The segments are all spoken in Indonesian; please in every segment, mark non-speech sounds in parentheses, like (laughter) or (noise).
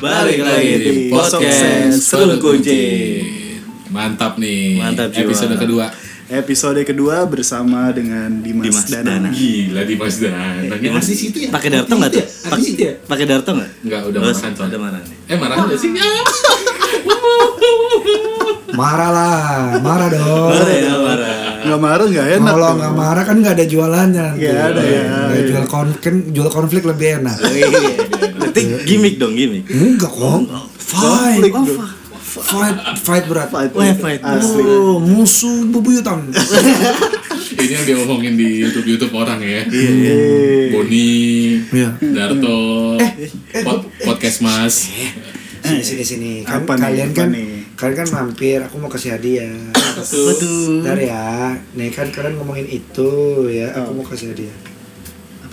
Balik lagi di podcast Solo Kucing. Mantap nih. Mantap jiwa. Episode kedua. Episode kedua bersama dengan Dimas, Dimas Danang. Danang. Gila di Mas Eh, Dan. Yang asli situ ya. Pakai darto nggak tuh? Asli situ ya. Pak- Pakai darto nggak? Enggak udah Terus, makan Udah soalnya. mana nih? Eh marah enggak sih? Ah. Marah lah, marah dong. Marah ya marah. Nggak marah nggak enak. Kalau tuh. nggak marah kan nggak ada jualannya. nanti. Nggak ada ya. Oh, iya. Nggak jual konflik, jual konflik lebih enak. Nanti gimmick dong gimmick. Enggak kok. Fight, Oh, Konflik dong. fight, fight berat. Fight. iya, Wah, fight. Asli. Oh, musuh (laughs) bebuyutan. Nah, Ini yang dia ngomongin di YouTube YouTube orang Iya, ya. Yeay. Boni, Iya. Darto, Eh, pod- podcast Mas. Sini sini sini. Kan, Apa nih, kalian apa kan, nih? kalian kan mampir. Aku mau kasih hadiah. Betul. Bentar ya. Nih kan kalian ngomongin itu ya. Aku Oh. mau kasih hadiah.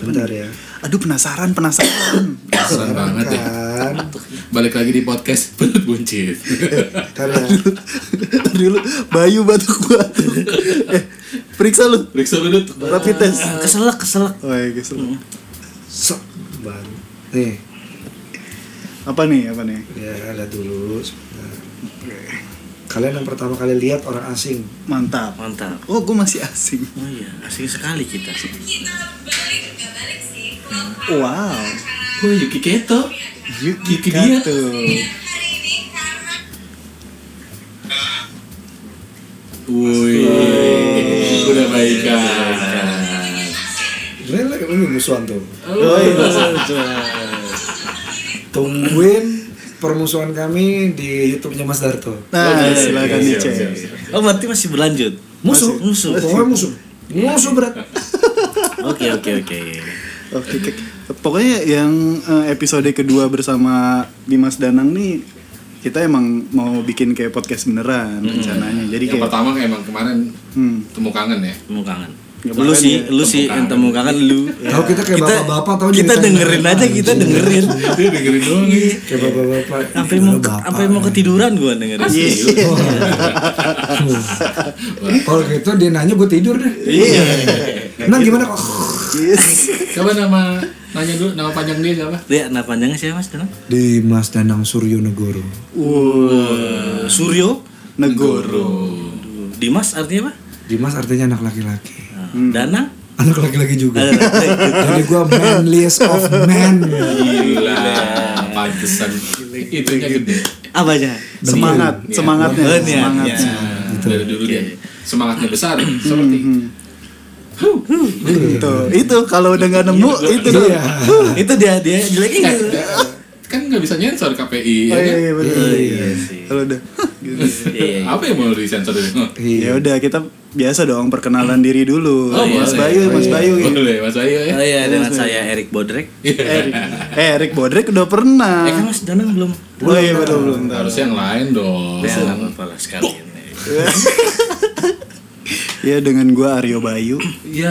Bentar ya. Aduh penasaran penasaran. Keren banget ya. Kan. Balik lagi di podcast Belut Eh, Buncit. Bentar ya. Ntar dulu Bayu batuk gua. eh, periksa lu. Periksa belut. Rapid test. Keselak keselak. Oh, iya, guys. Sok. Baru. Nih. Apa nih? Apa nih? Ya, ada dulu. sebentar. Kalian yang pertama kali lihat orang asing. Mantap. Mantap. Oh, gua masih asing. Oh iya, asik sekali kita. kita balik nggak balik sih kalau Wow. Oh, Yuki Keto. Yuki Yuki dia. Kato. hari ini karena Woi. Udah baikan. Sebenarnya lagi- ini musuhan tuh. Oh, iya. Tungguin permusuhan kami di YouTube-nya Mas Darto. Nah, Oke, silakan siap, dicek. siap, siap. Oh berarti masih berlanjut. Musuh, Musuh. Pokoknya musuh. Musuh berat. Oke oke oke. iya, Oke, oke. pokoknya yang eh, episode kedua bersama Dimas Danang nih kita emang mau bikin kayak podcast beneran rencananya. Jadi Yang kayak pertama emang kemarin hmm, temu kangen (laughs) ya. Temu kangen. Ya, Lu makanya sih, lu sih yang temu kangen lu. Tahu kita kayak bapak-bapak tahu Kita ceritanya. dengerin aja, kita dengerin. Dia dengerin doang nih. Kayak bapak-bapak. Sampai mau Bapak. sampai mau ketiduran gua dengerin. Iya. Kalau gitu dia nanya gue tidur deh. Iya. Nang gimana kok? Yes. Coba nama nanya dulu nama panjang dia siapa? Dia nah panjangnya siapa Mas Danang? Di Mas Danang Suryonegoro. Eh, Suryo Negoro. Dimas artinya apa? Dimas artinya anak laki-laki. Danang Anak laki-laki juga. Eh, Jadi gue manliest of men. Gila, (laughs) pantesan itunya gede. apa aja? Semangat, Iya. semangatnya, Oh, niatnya. Eh, semangat. Nah, Dari dulu dia semangatnya besar seperti Itu, Hmm. Gitu. itu kalau udah nggak nemu itu dong. Iya. Itu dia dia jelek Eh, itu. kan nggak bisa nyensor KPI ya Oh, iya, kan? iya, betul. Oh, iya sih. Kalau udah gitu. Iya. Apa yang mau disensor dari Iya. Ya udah kita biasa dong perkenalan diri dulu. Oh, Mas boleh. Bayu, Mas Bayu. Boleh Mas Bayu ya. Iya. Oh iya dengan saya Erik Bodrek. Eh, Erik, Eh, Erik Bodrek udah pernah. Eh kan Mas Danang belum. Oh iya belum belum tahu. Harusnya yang lain dong. Ya (laughs) enggak apa-apa lah sekalian. Ya dengan gua Aryo Bayu. Ya.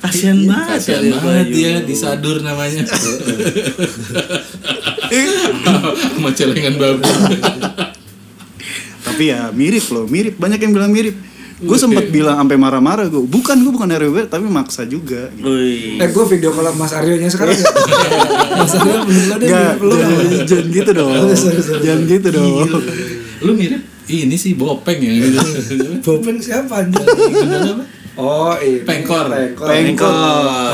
Kasihan Iya. banget Kasihan Aryo banget Bayu. dia disadur namanya. Sama celengan babu. Tapi ya mirip loh, mirip. Banyak yang bilang mirip. Gue sempet bilang sampai marah-marah gue. Bukan gue bukan Aryo Bayu, tapi maksa juga. Wih. Eh gue video call sama Mas Aryo nya sekarang (laughs) ya. Mas Aryo belum ada Gak, belum. jangan, jangan gitu dong. jangan gitu dong. Lu mirip ini sih bopeng ya. Bopeng siapa anjir? Oh iya. Pengkor. Pengkor. Pengkor.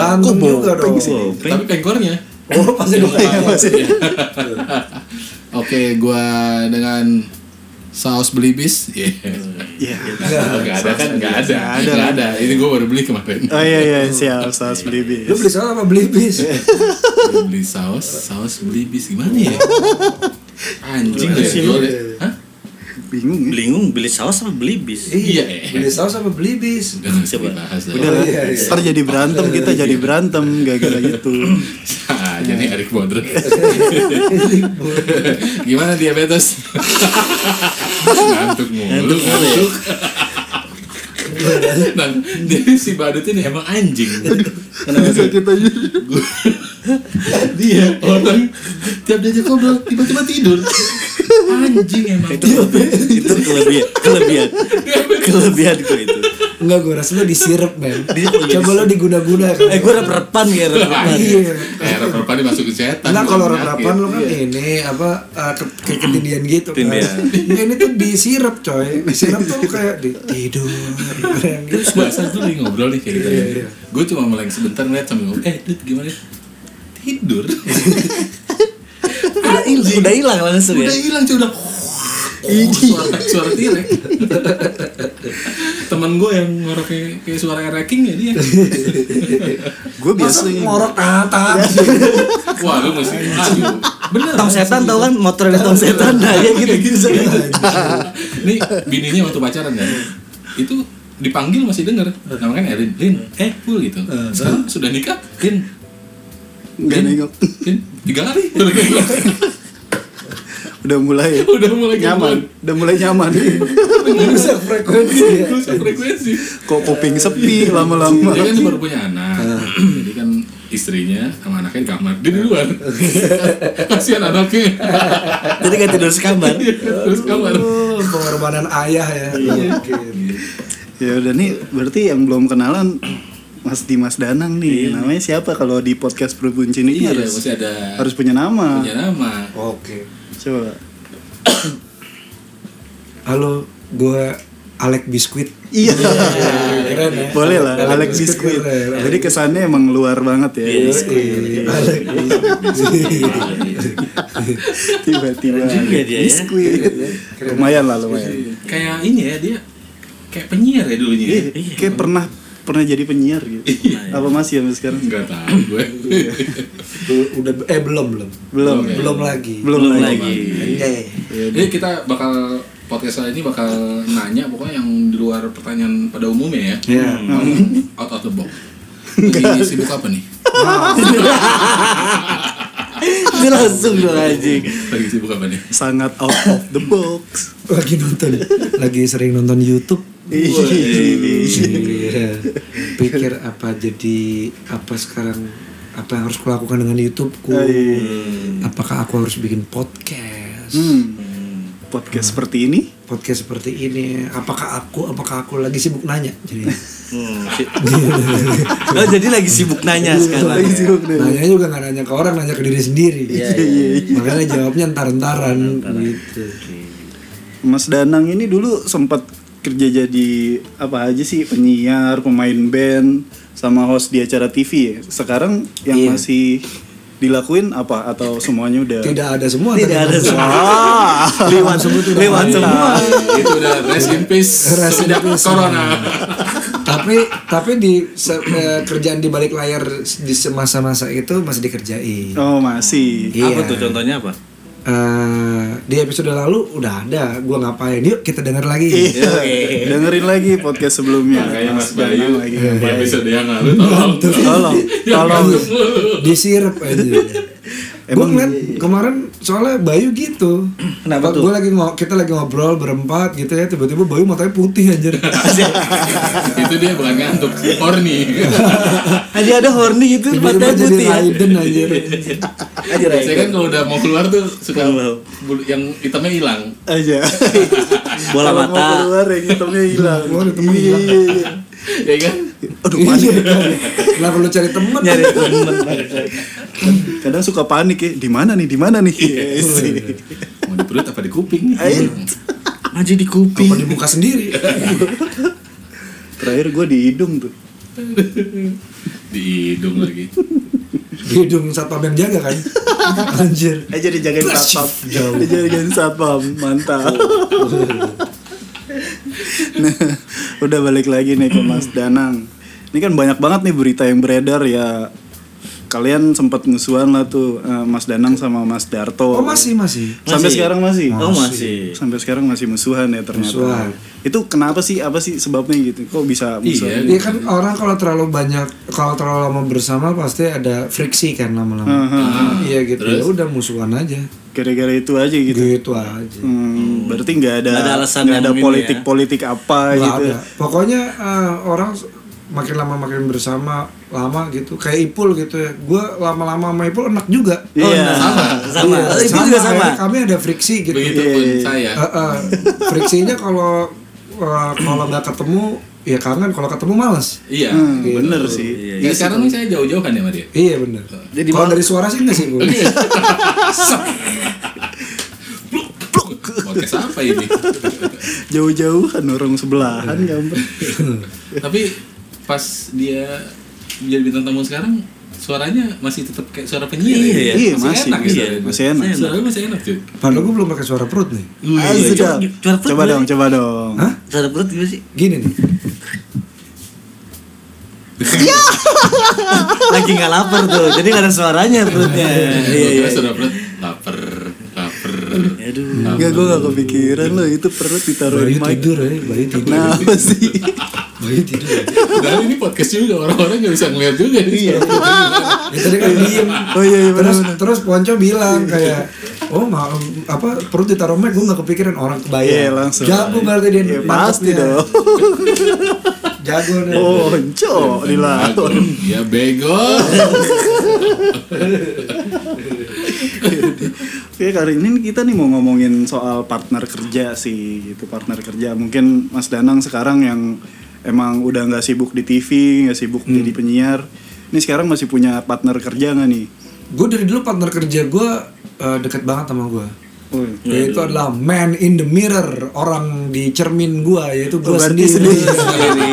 Ganteng Kok juga bopeng dong. sih? Tapi pengkornya. Oh pasti dong. Iya, Oke, gua dengan saus belibis. Iya. Iya. Enggak ada kan? Enggak ada. Nggak ada. Enggak ada. Ini gua baru beli kemarin. Oh iya iya siap saus belibis. Lu beli soal apa beli bis? Baru beli saus, saus belibis gimana ya? Anjing deh. jualnya. Hah? Bingung ya. Bingung beli saus apa beli bis? Iya. Beli saus apa beli bis? Udah nggak usah Coba. dibahas dah. (laughs) Udah lah, iya, iya. ntar jadi berantem kita jadi berantem gara-gara gitu. itu. Ah, jadi Erik Bodrek. (laughs) Gimana diabetes? Ngantuk mulu. ya? Ngantuk. Nah, jadi si badut ini emang anjing. Bisa kita dia orang tiap diajak ngobrol tiba-tiba tidur. Anjing emang. Iya. itu kelebihan kelebihan kelebihan gue itu Enggak gue rasa lu disirup men. Coba lu diguna-guna kan. Iya. eh gue rep repan ya rep repan Anjing. Eh, rep-repan dimasukin setan. Iya. Nah kalau bukan rap-rapan penyakit. lo kan ini apa eh, ke kayak ketindihan gitu kan. Ketindihan. (laughs) Nah, ini tuh disirup coy. Disirup tuh kayak di tidur. Kayak gitu. Terus bahasa tuh lagi ngobrol nih kayak gitu Iya, ya. iya. Gue cuma meleng sebentar ngeliat sambil ngobrol. Eh, Dut gimana? Tidur. Udah hilang, udah hilang langsung ya. udah hilang cuy udah. Gitu Oh, suara, suara tirek. Temen gue yang ngorok kayak, kayak suara ereking ya dia. Gue Masa biasanya ngorok tatap. (laughs) (laughs) Wah, lu mesti aduh. Bener. Tong setan tau kan motor yang tong setan nah ya gitu gitu. Ini bininya waktu pacaran kan. Itu dipanggil masih denger. Namanya kan Erin. Lin, eh, full gitu. Sekarang sudah nikah, Lin. nggak nengok. Lin, tiga (laughs) kali. Udah mulai Udah mulai nyaman, udah mulai nyaman. Bisa frekuensi ya. Rusak frekuensi. Kok kuping sepi lama-lama. Dia kan baru punya anak. (clears throat) Jadi kan istrinya sama anaknya di kamar. Dia di luar. Kasihan anaknya. Iya, Jadi gak tidur sekamar. Terus kamar. Oh, pengorbanan ayah ya. Mungkin. Ya udah nih, berarti yang belum kenalan Mas Dimas Danang nih. Namanya siapa kalau di podcast Perbuncinnya Iya, harus masih ada harus punya nama. punya nama. Oke. Coba. Halo, gua Alek Biskuit. Iya. Keren ya. (laughs) Boleh lah, Alex Biskuit. keren. Jadi kesannya emang luar banget Iya. ya. Iya, (laughs) Alek Tiba-tiba Keren juga dia ya. Biskuit. Lumayan lah, lumayan. Kayak ini ya dia kayak penyiar ya dulunya. Kayak pernah pernah jadi penyiar gitu. Apa masih sampai sekarang? Enggak tahu gue. Bel- (laughs) udah eh belum belum Belum. Oke. belum lagi Belum Belum lagi. lagi. Eh, Jadi kita bakal podcast kali ini bakal nanya pokoknya yang di luar pertanyaan pada umumnya ya. ya Emang Out of the box. Lagi sibuk apa nih? Dia langsung dong anjing. Lagi sibuk apa nih? Sangat out of the box. lagi nonton lagi sering nonton YouTube Iya. pikir apa jadi apa sekarang apa yang harus kulakukan dengan YouTubeku Iya, Ah, apakah aku harus bikin podcast Hmm. Podcast seperti ini podcast seperti ini apakah aku apakah aku lagi sibuk nanya jadi Oh jadi lagi sibuk nanya sekarang. lagi sibuk nih. nanya juga nggak nanya ke orang nanya ke diri sendiri makanya jawabnya entar-entaran gitu Mas Danang ini dulu sempat kerja jadi apa aja sih penyiar, pemain band, sama host di acara TV. ya? Sekarang yang Iya. masih dilakuin apa atau semuanya udah tidak ada semua Tidak ternyata. ada semua. Lewat semua Lewat semua. Itu Gitu, udah rest in peace. Rest in Semenjak peace. corona. tapi tapi di se- eh, kerjaan di balik layar di semasa-masa itu masih dikerjain. Oh, masih. Apa tuh contohnya apa? Eh, di episode lalu udah ada gua ngapain. Yuk kita denger lagi. Iya. Dengerin lagi podcast Iya. sebelumnya. Makanya Mas Danang Bayu lagi. di episode yang lalu tolong. Tolong, tolong. Disirep aja. (laughs) Emang ngeliat kemarin soalnya Bayu gitu. Kenapa tuh? Gue lagi ngo- kita lagi ngobrol berempat gitu ya tiba-tiba Bayu matanya putih (laughs) anjir. Itu dia bukan ngantuk, horny. Aja ada horny gitu Tiba-tiba matanya jadi putih. Raiden (laughs) anjir. Aja Saya kan kalau udah mau keluar tuh suka bulu- yang hitamnya hilang. Aja. Bola Kalau mau mata. keluar yang hitamnya hilang. Keluar yang hitamnya Iya, hilang. iya, iya. Ya kan? Aduh, panik. Lah perlu cari temen. Nyari temen. Kadang suka panik ya. Di mana nih? Di mana Iya, nih? Iya, Yes. Mau di perut apa di kuping nih? Ayo. Maju di Apa kuping. di muka sendiri. (laughs) Terakhir gue di hidung tuh. Di hidung lagi. Di hidung satpam yang jaga kan. Anjir. Aja dijagain satpam. Aja dijagain satpam. Mantap. Oh, nah, udah balik lagi nih ke Mas Danang. Ini kan banyak banget nih berita yang beredar ya. Kalian sempat musuhan lah tuh eh, Mas Danang sama Mas Darto. Oh masih masih. Sampai sekarang masih. Oh masih. Sampai sekarang masih musuhan ya ternyata. Musuhan. Itu kenapa sih? Apa sih sebabnya gitu? Kok bisa musuhan? Iya kan orang kalau terlalu banyak kalau terlalu lama bersama pasti ada friksi kan lama-lama. Iya gitu. Ya udah musuhan aja. Gara-gara itu aja gitu. Gitu aja. Hmm, berarti nggak ada Iya. Nggak ada alasan nggak ada yang ini ya. politik-politik apa Nggak gitu. ada. Pokoknya eh, orang s- makin lama makin bersama lama gitu kayak Ipul gitu ya. Gue lama-lama sama Ipul enak juga. Oh, Iya. nah, sama. Sama. Iya, Oh, Itu juga sama. akhirnya Kami ada friksi gitu. Begitupun saya. Eh, eh, friksinya kalau eh, kalau nggak ketemu ya kangen kalau ketemu males Iya. Hmm, gitu. bener sih. Iya, Jadi sekarang nih saya jauh-jauhan ya sama dia. iya bener Jadi Iya. kalau mal- dari suara sih enggak sih Bu. Podcast apa ini? Jauh-jauhan orang sebelahan Iya. gampang. Tapi pas dia jadi bintang tamu sekarang suaranya masih tetap kayak suara penyiar Iya, ya? iya, masih, masih, enak ya iya, suaranya. masih enak. Suaranya masih enak cuy. padahal gue belum pakai suara perut nih Ah, iya, sedap. coba- coba perut Coba boleh. dong, coba dong. Hah? Suara perut gimana sih? gini nih Lagi nggak lapar tuh, jadi nggak ada suaranya perutnya. Iya, Iya, iya. suara perut lapar, lapar. Aduh. Enggak, gue gak kepikiran loh itu perut ditaruh di bayu mic. Nah. tidur ya bayu tidur Kenapa sih? bayu tidur ya Dan ini podcast juga orang-orang nggak bisa ngeliat juga nih. Iya. Ya, tadi kan diem Oh iya, iya, terus bener-bener. terus Ponco bilang kayak oh ma apa perut ditaruh mic gue nggak kepikiran orang kebayang Iya, langsung. jago berarti dia Ya, nangkepnya. pasti dong. jago nih (laughs) Oh, cok dilawan. Ya bego. Oke, kali ini kita nih mau ngomongin soal partner kerja sih, gitu partner kerja. Mungkin Mas Danang sekarang yang emang udah nggak sibuk di TV, nggak sibuk jadi penyiar. Ini sekarang masih punya partner kerja nggak nih? gue dari dulu partner kerja gue eh, deket banget sama gue Wih. yaitu adalah man in the mirror orang di cermin gue yaitu gue Oh, berarti sendiri, (laughs) sendiri.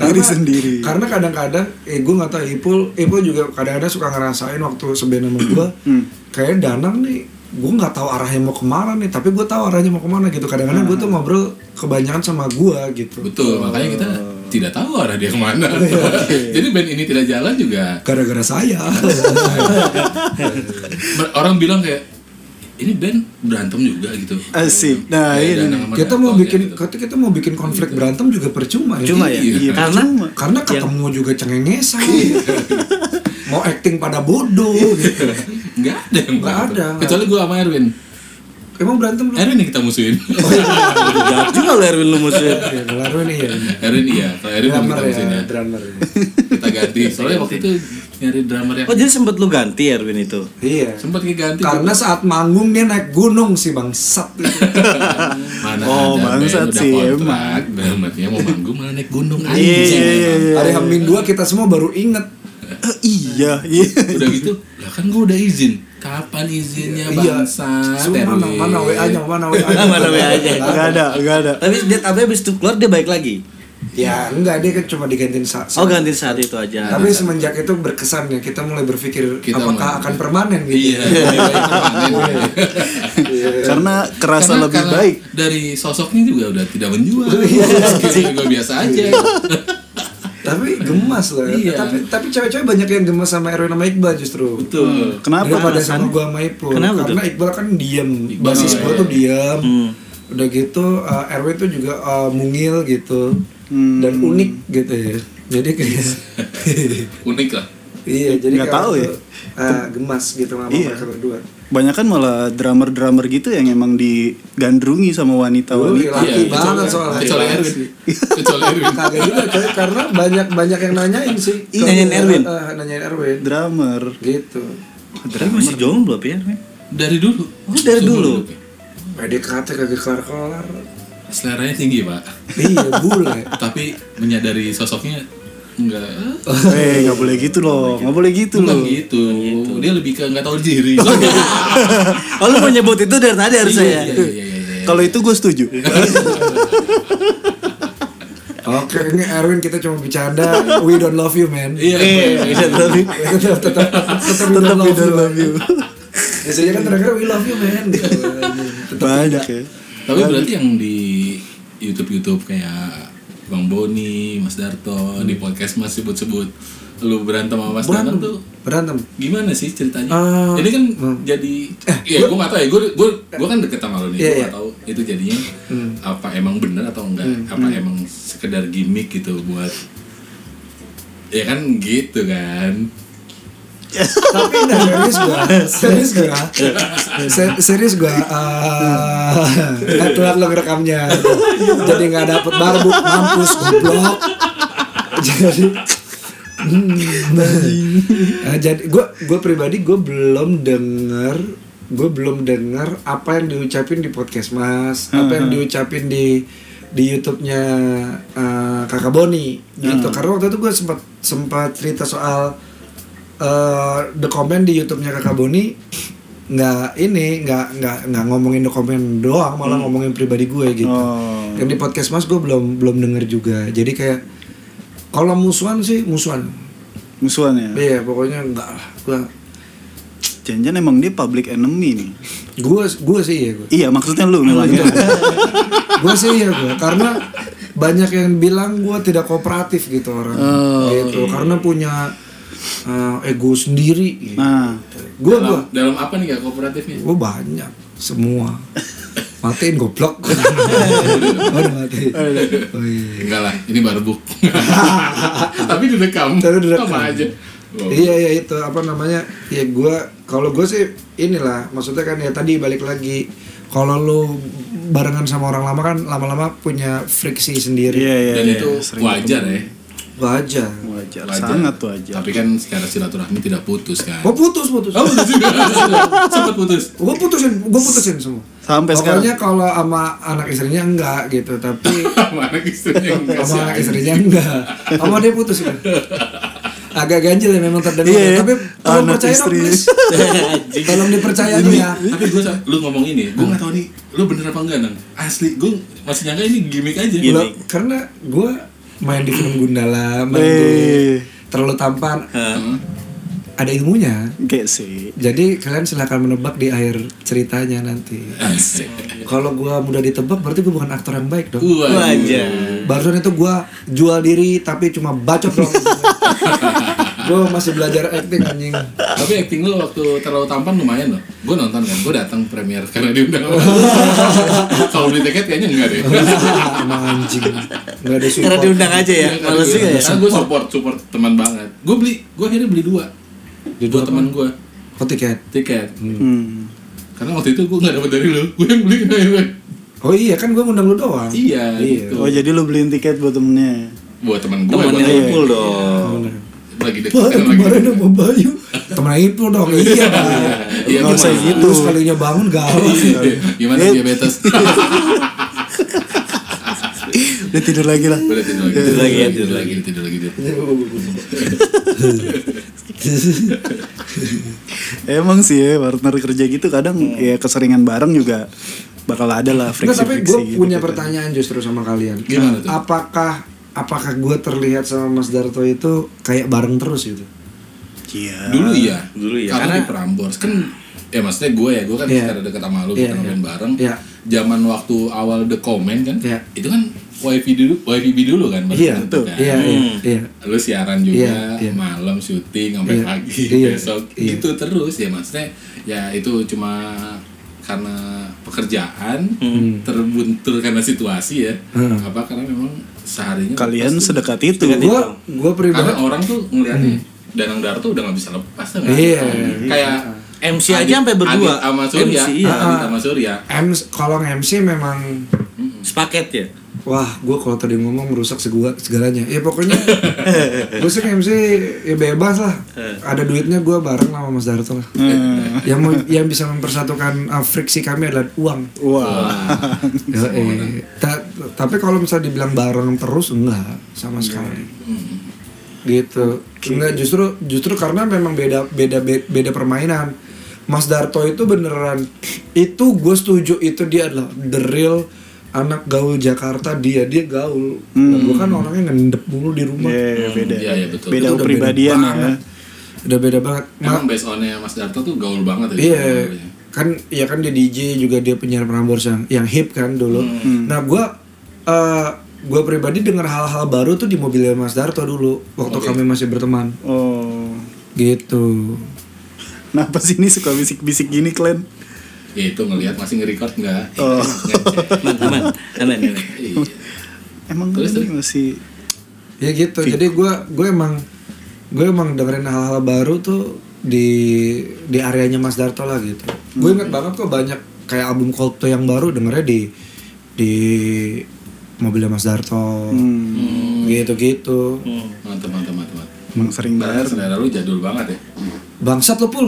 Diri sendiri. karena kadang-kadang eh gue nggak tahu Ipul Ipul juga kadang-kadang suka ngerasain waktu seband sama gue kayak Danang nih gue nggak tahu arahnya mau kemana nih tapi gue tahu arahnya mau kemana gitu kadang-kadang gue tuh ngobrol kebanyakan sama gue gitu Betul, makanya kita tidak tahu arah dia kemana. Jadi band ini tidak jalan juga. gara-gara saya Ber- Orang bilang kayak ini band berantem juga gitu. Asik. Nah, Kayak ini Danang nih. sama kita Danto, mau ya, bikin gitu. kita kita mau bikin konflik berantem juga percuma ya Cuma ya, Iya. karena karena ketemu juga cengengesan (laughs) mau acting pada bodoh gitu. nggak ada yang Nggak berantem. ada, nggak Kecuali gua sama Erwin. emang berantem lu? Erwin yang kita (laughs) musuhin. Jahat juga lu Erwin lu musuhin. Ya, Lalu nih ya Erwin iya, kalau Erwin yang drummer kita musuhin ya ya. drummer ya. Kita ganti. Soalnya waktu itu nyari drummer yang Oh, jadi sempet lu ganti Erwin itu. (laughs) iya sempat ganti. karena saat manggung dia naik gunung sih bangsat (laughs) mana Oh, ada band bangsat udah sih, kontrak, drummernya mau manggung malah naik gunung aja. Iya, iya, iya, iya. hari hamin dua kita semua baru inget Eh, Iya, iya. udah gitu lah kan gue udah izin kapan izinnya Iya, bangsa Semua mana mana wa nya mana wa nya Mana WA-nya? Enggak ada, enggak ada. Tapi dia tapi habis itu keluar dia balik lagi. ya enggak dia kan cuma digantiin saat Oh, ganti saat itu aja. tapi semenjak itu berkesan ya kita mulai berpikir Kita apakah mulai- akan permanen gitu iya lebih baik permanen. Karena kerasa Karena- lebih karena baik. dari sosoknya juga udah tidak menjual Iya. gue biasa aja tapi gemas loh ya. Iya. tapi tapi cewek-cewek banyak yang gemas sama Erwin sama Iqbal justru betul Kenapa? daripada alasannya? sama gua sama Ipul Kenapa karena Iqbal kan diem Iqbal, basis gua iya. tuh diem udah gitu eh, Erwin tuh juga eh, mungil gitu Hmm. dan unik gitu ya jadi kayak (laughs) unik lah iya jadi Nggak kayak tahu waktu, ya. eh, gemas gitu sama Iya. mereka berdua Banyak kan malah drummer-drummer gitu yang emang digandrungi sama wanita-wanita. Iya, Laki banget kecuali- soalnya. kecuali Erwin kecuali Erwin kagak juga coy karena banyak banyak yang nanyain sih Ih, nanyain Kalau- Erwin? eh, nanyain Erwin Drummer. (laughs) gitu Tapi masih jomblo ya, Erwin? dari dulu Oh, dari dulu. PDKT kagak kelar kelar seleranya tinggi pak iya bule tapi menyadari sosoknya enggak Eh, nggak boleh gitu loh, nggak boleh gitu Bukan loh. gitu. dia lebih ke nggak tahu diri Oh, lu mau nyebut itu dari tadi Iya, harusnya. ya? iya, iya, iya, iya. Kalau itu gue setuju. Oke, ini Erwin kita cuma bercanda. We don't love you, man. Iya, iya, iya. Tapi tetap tetap tetap tetap we don't we love don't you. love you. Biasanya kan terakhir we love you, man. Gitu. Tetap Banyak tidak. ya. Tapi berarti yang di YouTube-YouTube kayak Bang Boni, Mas Darto, di podcast Mas sebut-sebut lu berantem sama Mas Danang Berantem. tuh Berantem. gimana sih ceritanya? Eh, Ini kan hmm. jadi ya gue gak tahu ya gue gue gue kan deket sama lu nih Iya, Hmm. gue iya. gak tahu itu jadinya apa emang bener atau enggak Hmm, apa emang sekedar gimmick gitu buat ya kan gitu kan Tapi nah, serius gua, serius gua, se- serius gua. eh, (laughs) nggak telat lo ngerekamnya. Jadi nggak dapet barbuk, mampus, goblok. Jadi Nah, jadi gue gue pribadi gue belum denger gue belum denger apa yang diucapin di podcast mas apa yang diucapin di di YouTube-nya eh, Kakak Boni gitu. Karena waktu itu gue sempat sempat cerita soal eh, the comment di YouTube-nya Kakak Boni nggak ini nggak nggak nggak ngomongin the comment doang malah ngomongin pribadi gue gitu. Oh. Yang di podcast Mas gue belum belum denger juga. Jadi kayak kalau musuhan sih musuhan. Musuhan ya. Iya, pokoknya enggak lah. Gua Jangan-jangan emang dia public enemy nih. gua gua sih ya gua. Iya maksudnya lu memang. gua sih ya gua karena banyak yang bilang gua tidak kooperatif gitu orang. Oh, gitu iya. karena punya eh, ego sendiri gitu. Nah, gua gua dalam, dalam apa nih gak kooperatifnya? gua banyak semua. Matiin (laughs) goblok. Udah mati. Oh iya. Enggak lah, ini (laughs) barbuk. Tapi direkam. Tapi direkam. Sama aja. Oh. Wow. Iya iya itu apa namanya ya gue kalau gue sih inilah maksudnya kan ya tadi balik lagi kalau lu barengan sama orang lama kan lama-lama punya friksi sendiri iya iya. Dan iya, itu sering wajar ya. wajar ketemu. Wajar. Sangat wajar. Tapi kan secara silaturahmi tidak putus kan. gue putus putus Oh, putus (laughs) juga. Sempat putus. gue putusin gue putusin semua Sampai pokoknya kalau sama anak istrinya enggak gitu tapi (laughs) Mana istrinya yang enggak sama anak sih? istrinya enggak sama dia putus kan agak ganjil ya memang terdengar Iya, iya. tapi tolong Anak percaya dong istri. please (laughs) tolong dipercaya dulu Ini, ya tapi gue lu ngomong ini, gue nggak tahu nih, lu bener apa enggak nang? Asli, gue masih nyangka ini gimmick aja. Lo- karena gue main di film Gundala, main Eh. di terlalu tampan, Heeh. ada ilmunya. Gak sih. Jadi kalian silahkan menebak di akhir ceritanya nanti. Asik. Kalau gue mudah ditebak, berarti gue bukan aktor yang baik Uh. dong. Wajar. Barusan itu gue jual diri, tapi cuma bacot dong. gue masih belajar acting anjing. Tapi acting lu waktu terlalu tampan lumayan loh. Gue nonton kan, gue datang premier karena diundang. Kalau beli tiket kayaknya enggak deh. Emang anjing, nggak ada Karena support. diundang aja ya, Iya, males juga ya. Karena gue support, support teman banget. Gue beli, gue akhirnya beli dua. dua teman gue Oh, tiket. tiket. Hmm. Karena waktu itu gue nggak dapet dari lu, gue yang beliin akhirnya. Oh iya kan gue ngundang lu doang. Iya, Iya. gitu. Oh jadi lu beliin tiket buat temennya. ya? Buat teman gue, Temennya Ipul dong. lagi deket Wah, kan lagi. kemarin sama Bayu Temen itu dong, iya Bang. Iya, Nggak usah gimana? gitu. Terus kalinya bangun galau (laughs) Gimana Eh. (laughs) diabetes? Udah tidur lagi lah. Udah tidur lagi, Tidur lagi ya, tidur tidur lagi, tidur lagi. tidur. Iya. Emang sih ya partner kerja gitu kadang ya keseringan bareng juga bakal ada lah Hmm. Nggak, tapi friksi-friksi gue gitu. punya kan. pertanyaan justru sama kalian Gimana tuh? Apakah Apakah gue terlihat sama Mas Darto itu kayak bareng terus gitu? Iya. Dulu iya. Dulu iya. Karena Karena- di Prambors kan ya maksudnya gue ya, gue kan Iya. secara dekat sama lu kita Iya, nonton iya. bareng. Iya. Zaman waktu awal The Comment kan, Iya. itu kan YVB dulu, YVB dulu kan bareng Iya, gitu itu kan. iya, iya, Hmm. Hmm. iya. Lu siaran juga Iya, iya. malam syuting sampai Iya, pagi iya, (laughs) besok iya. gitu terus ya maksudnya ya itu cuma karena pekerjaan Hmm. terbuntur karena situasi ya Hmm. apa karena memang seharinya Kalian lepas tuh. sedekat itu. Gue karena gue pribadi orang tuh ngeliatnya Danang Darto udah nggak bisa lepas kan Hmm. Iya. kayak MC aja sampai berdua. Adit sama Surya Ah, MC, iya. Adit sama Surya M kalau MC memang Sepaket ya. Wah, gue kalau tadi ngomong merusak segala segalanya. Ya pokoknya, (laughs) gue sih MC ya bebas lah. Hmm. Ada duitnya gue bareng sama Mas Darto lah. yang mau- yang bisa mempersatukan uh, friksi kami adalah uang. Wah. Ya, eh. Ta- tapi kalau misalnya dibilang bareng terus enggak sama sekali. Gitu. Enggak justru justru karena memang beda beda be- beda permainan. Mas Darto itu beneran itu gue setuju itu dia adalah the real anak gaul Jakarta dia dia gaul. Nah, gue kan orangnya ngendep mulu di rumah. Iya, iya, beda. iya, iya, betul. Beda Itu udah kepribadian beda ya. banget. Udah beda banget. Ma- emang based onnya Mas Darto tuh gaul banget ya Iya, kan ya kan dia DJ juga dia penyiar Prambors yang yang hip kan dulu. Nah, gua eh gua pribadi dengar hal-hal baru tuh di mobilnya Mas Darto dulu waktu kami masih berteman. Oh. Gitu. Kenapa sih ini suka bisik-bisik gini, Klen? Ya, itu ngelihat masih nge-record nggak Oh. Aman, aman, aman. aman. Iya. Emang Terus, Klen masih Ya gitu. Jadi gua gue emang gue emang dengerin hal-hal baru tuh di di areanya Mas Darto lah gitu. Gue inget banget kok banyak kayak album Coldplay yang baru dengernya di di mobilnya Mas Darto. Hmm. Gitu-gitu. Hmm. mantap mantap mantap mantap emang sering Ternyata banget. selera lu jadul banget ya Bangsat lo pul.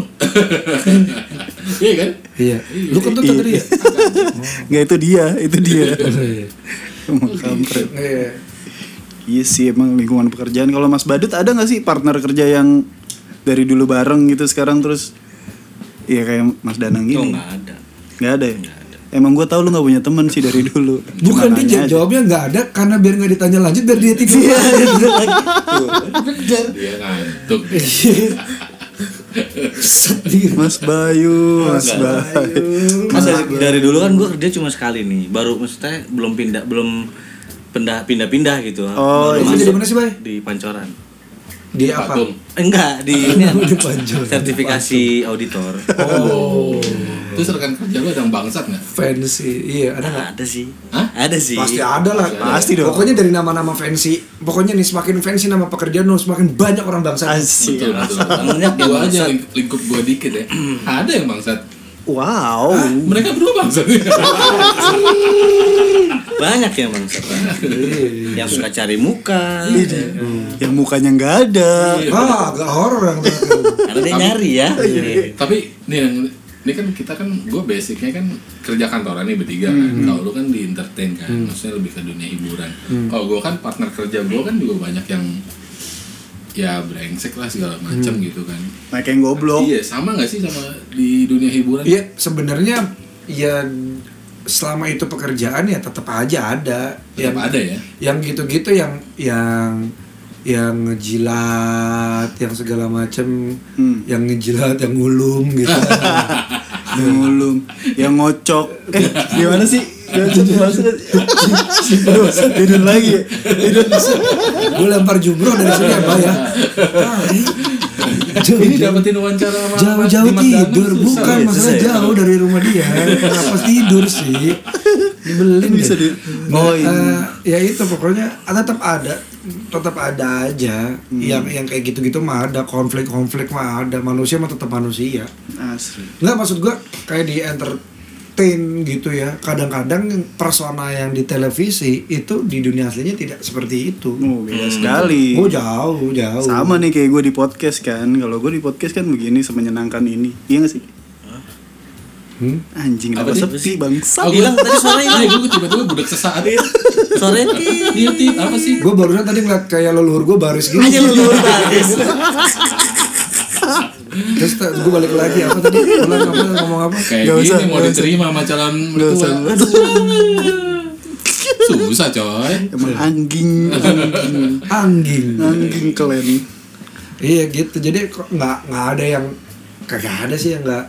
iya kan Iya. Lu kentut tadi ya? (laughs) Iya. Enggak itu dia, itu dia. Emang kampret. Iya. Iya sih emang lingkungan pekerjaan. Kalau Mas Badut ada nggak sih partner kerja yang dari dulu bareng gitu sekarang terus Iya kayak Mas Danang Oh, gini. nggak ada. Nggak ada ya? Emang gue tau lu nggak punya temen sih dari dulu. (laughs) Bukan Cuma nanya aja. dia Iya. jawabnya nggak ada karena biar nggak ditanya lanjut biar dia tidur. Dia ngantuk. (laughs) Mas Bayu, Mas Bayu. Mas dari, dari dulu kan gue kerja cuma sekali nih. Baru maksudnya belum pindah belum pindah pindah-pindah gitu. Oh, Baru iya. Jadi mana sih, Bay? Di Pancoran. Dia apa? Patung. Eh, Enggak, di ini Di Pancoran. sertifikasi auditor. Oh, Terus rekan kerja lu ada yang bangsat nggak? fancy. Iya, ada nggak? Ada sih. Hah? Ada sih. Pasti ada lah. Pasti dong. Pokoknya dari nama-nama fancy. Pokoknya nih semakin fancy nama pekerjaan, lu semakin banyak orang bangsa. Asik. Betul, betul. Banyak yang Gua aja bangsat. ling- lingkup gua dikit ya. Ada yang bangsat. Wow. Mereka berdua bangsat. Banyak ya bang. yang suka cari muka. Iya. Yang mukanya nggak ada. Ah, agak horor yang satu. Karena dia nyari ya. Tapi nih yang ini kan kita kan gue basicnya kan kerja kantoran nih bertiga kan. Kalau lu kan di entertain kan, maksudnya lebih ke dunia hiburan. Kalau gue kan partner kerja gue kan juga banyak yang ya brengsek lah segala macam gitu kan. Nah kayak goblok. Iya sama nggak sih sama di dunia hiburan? Iya, sebenarnya ya selama itu pekerjaan ya tetap aja ada. Tetap ada ya? Yang gitu-gitu yang yang yang ngejilat, yang segala macem, Hmm. yang ngejilat, yang ngulum (laughs) gitu. Ngulum. Yang ngocok. Eh gimana sih? Ngocok (laughs) maksudnya. Aduh, tidur lagi. ya? Tidur. Gue lempar jumroh dari sini apa ya? Ah, Ini jauh-jauh- dapetin wawancara sama Mas Jauh-jauh Dimas Danang tidur, susah. bukan Iya, masalah susah ya. jauh dari rumah dia. Kenapa tidur sih? Dibelin Bisa deh. di- Oh, iya. eh, ya itu pokoknya ah, tetap ada, tetap ada aja. Hmm. Yang yang kayak gitu-gitu mah ada konflik-konflik mah ada. Manusia mah tetap manusia. Asli. Nggak maksud gua kayak di entertain gitu ya. Kadang-kadang persona yang di televisi itu di dunia aslinya tidak seperti itu. Oh, beda sekali. Oh jauh, jauh. Sama nih kayak gue di podcast kan. Kalau gue di podcast kan begini semenyenangkan ini. Iya gak sih? Hmm? Anjing Apa apa sih? sepi bangsa. Oh, Hilang tadi suara hilang. gue tiba-tiba budak sesaat ya. Sore Iya, Tit, apa sih? Gue barusan tadi ngeliat kayak leluhur gue baris gitu. Aja lu dulu baris. Terus gue balik lagi apa tadi? Ulang apa ngomong apa? Kayak Nggak gini usah, mau nggak usah. diterima sama calon Nggak usah, mertua. nggak Susah coy. Emang anjing, anjing, Anjing. anjing kelen. Iya gitu. Jadi kok nggak nggak ada yang kagak ada sih yang nggak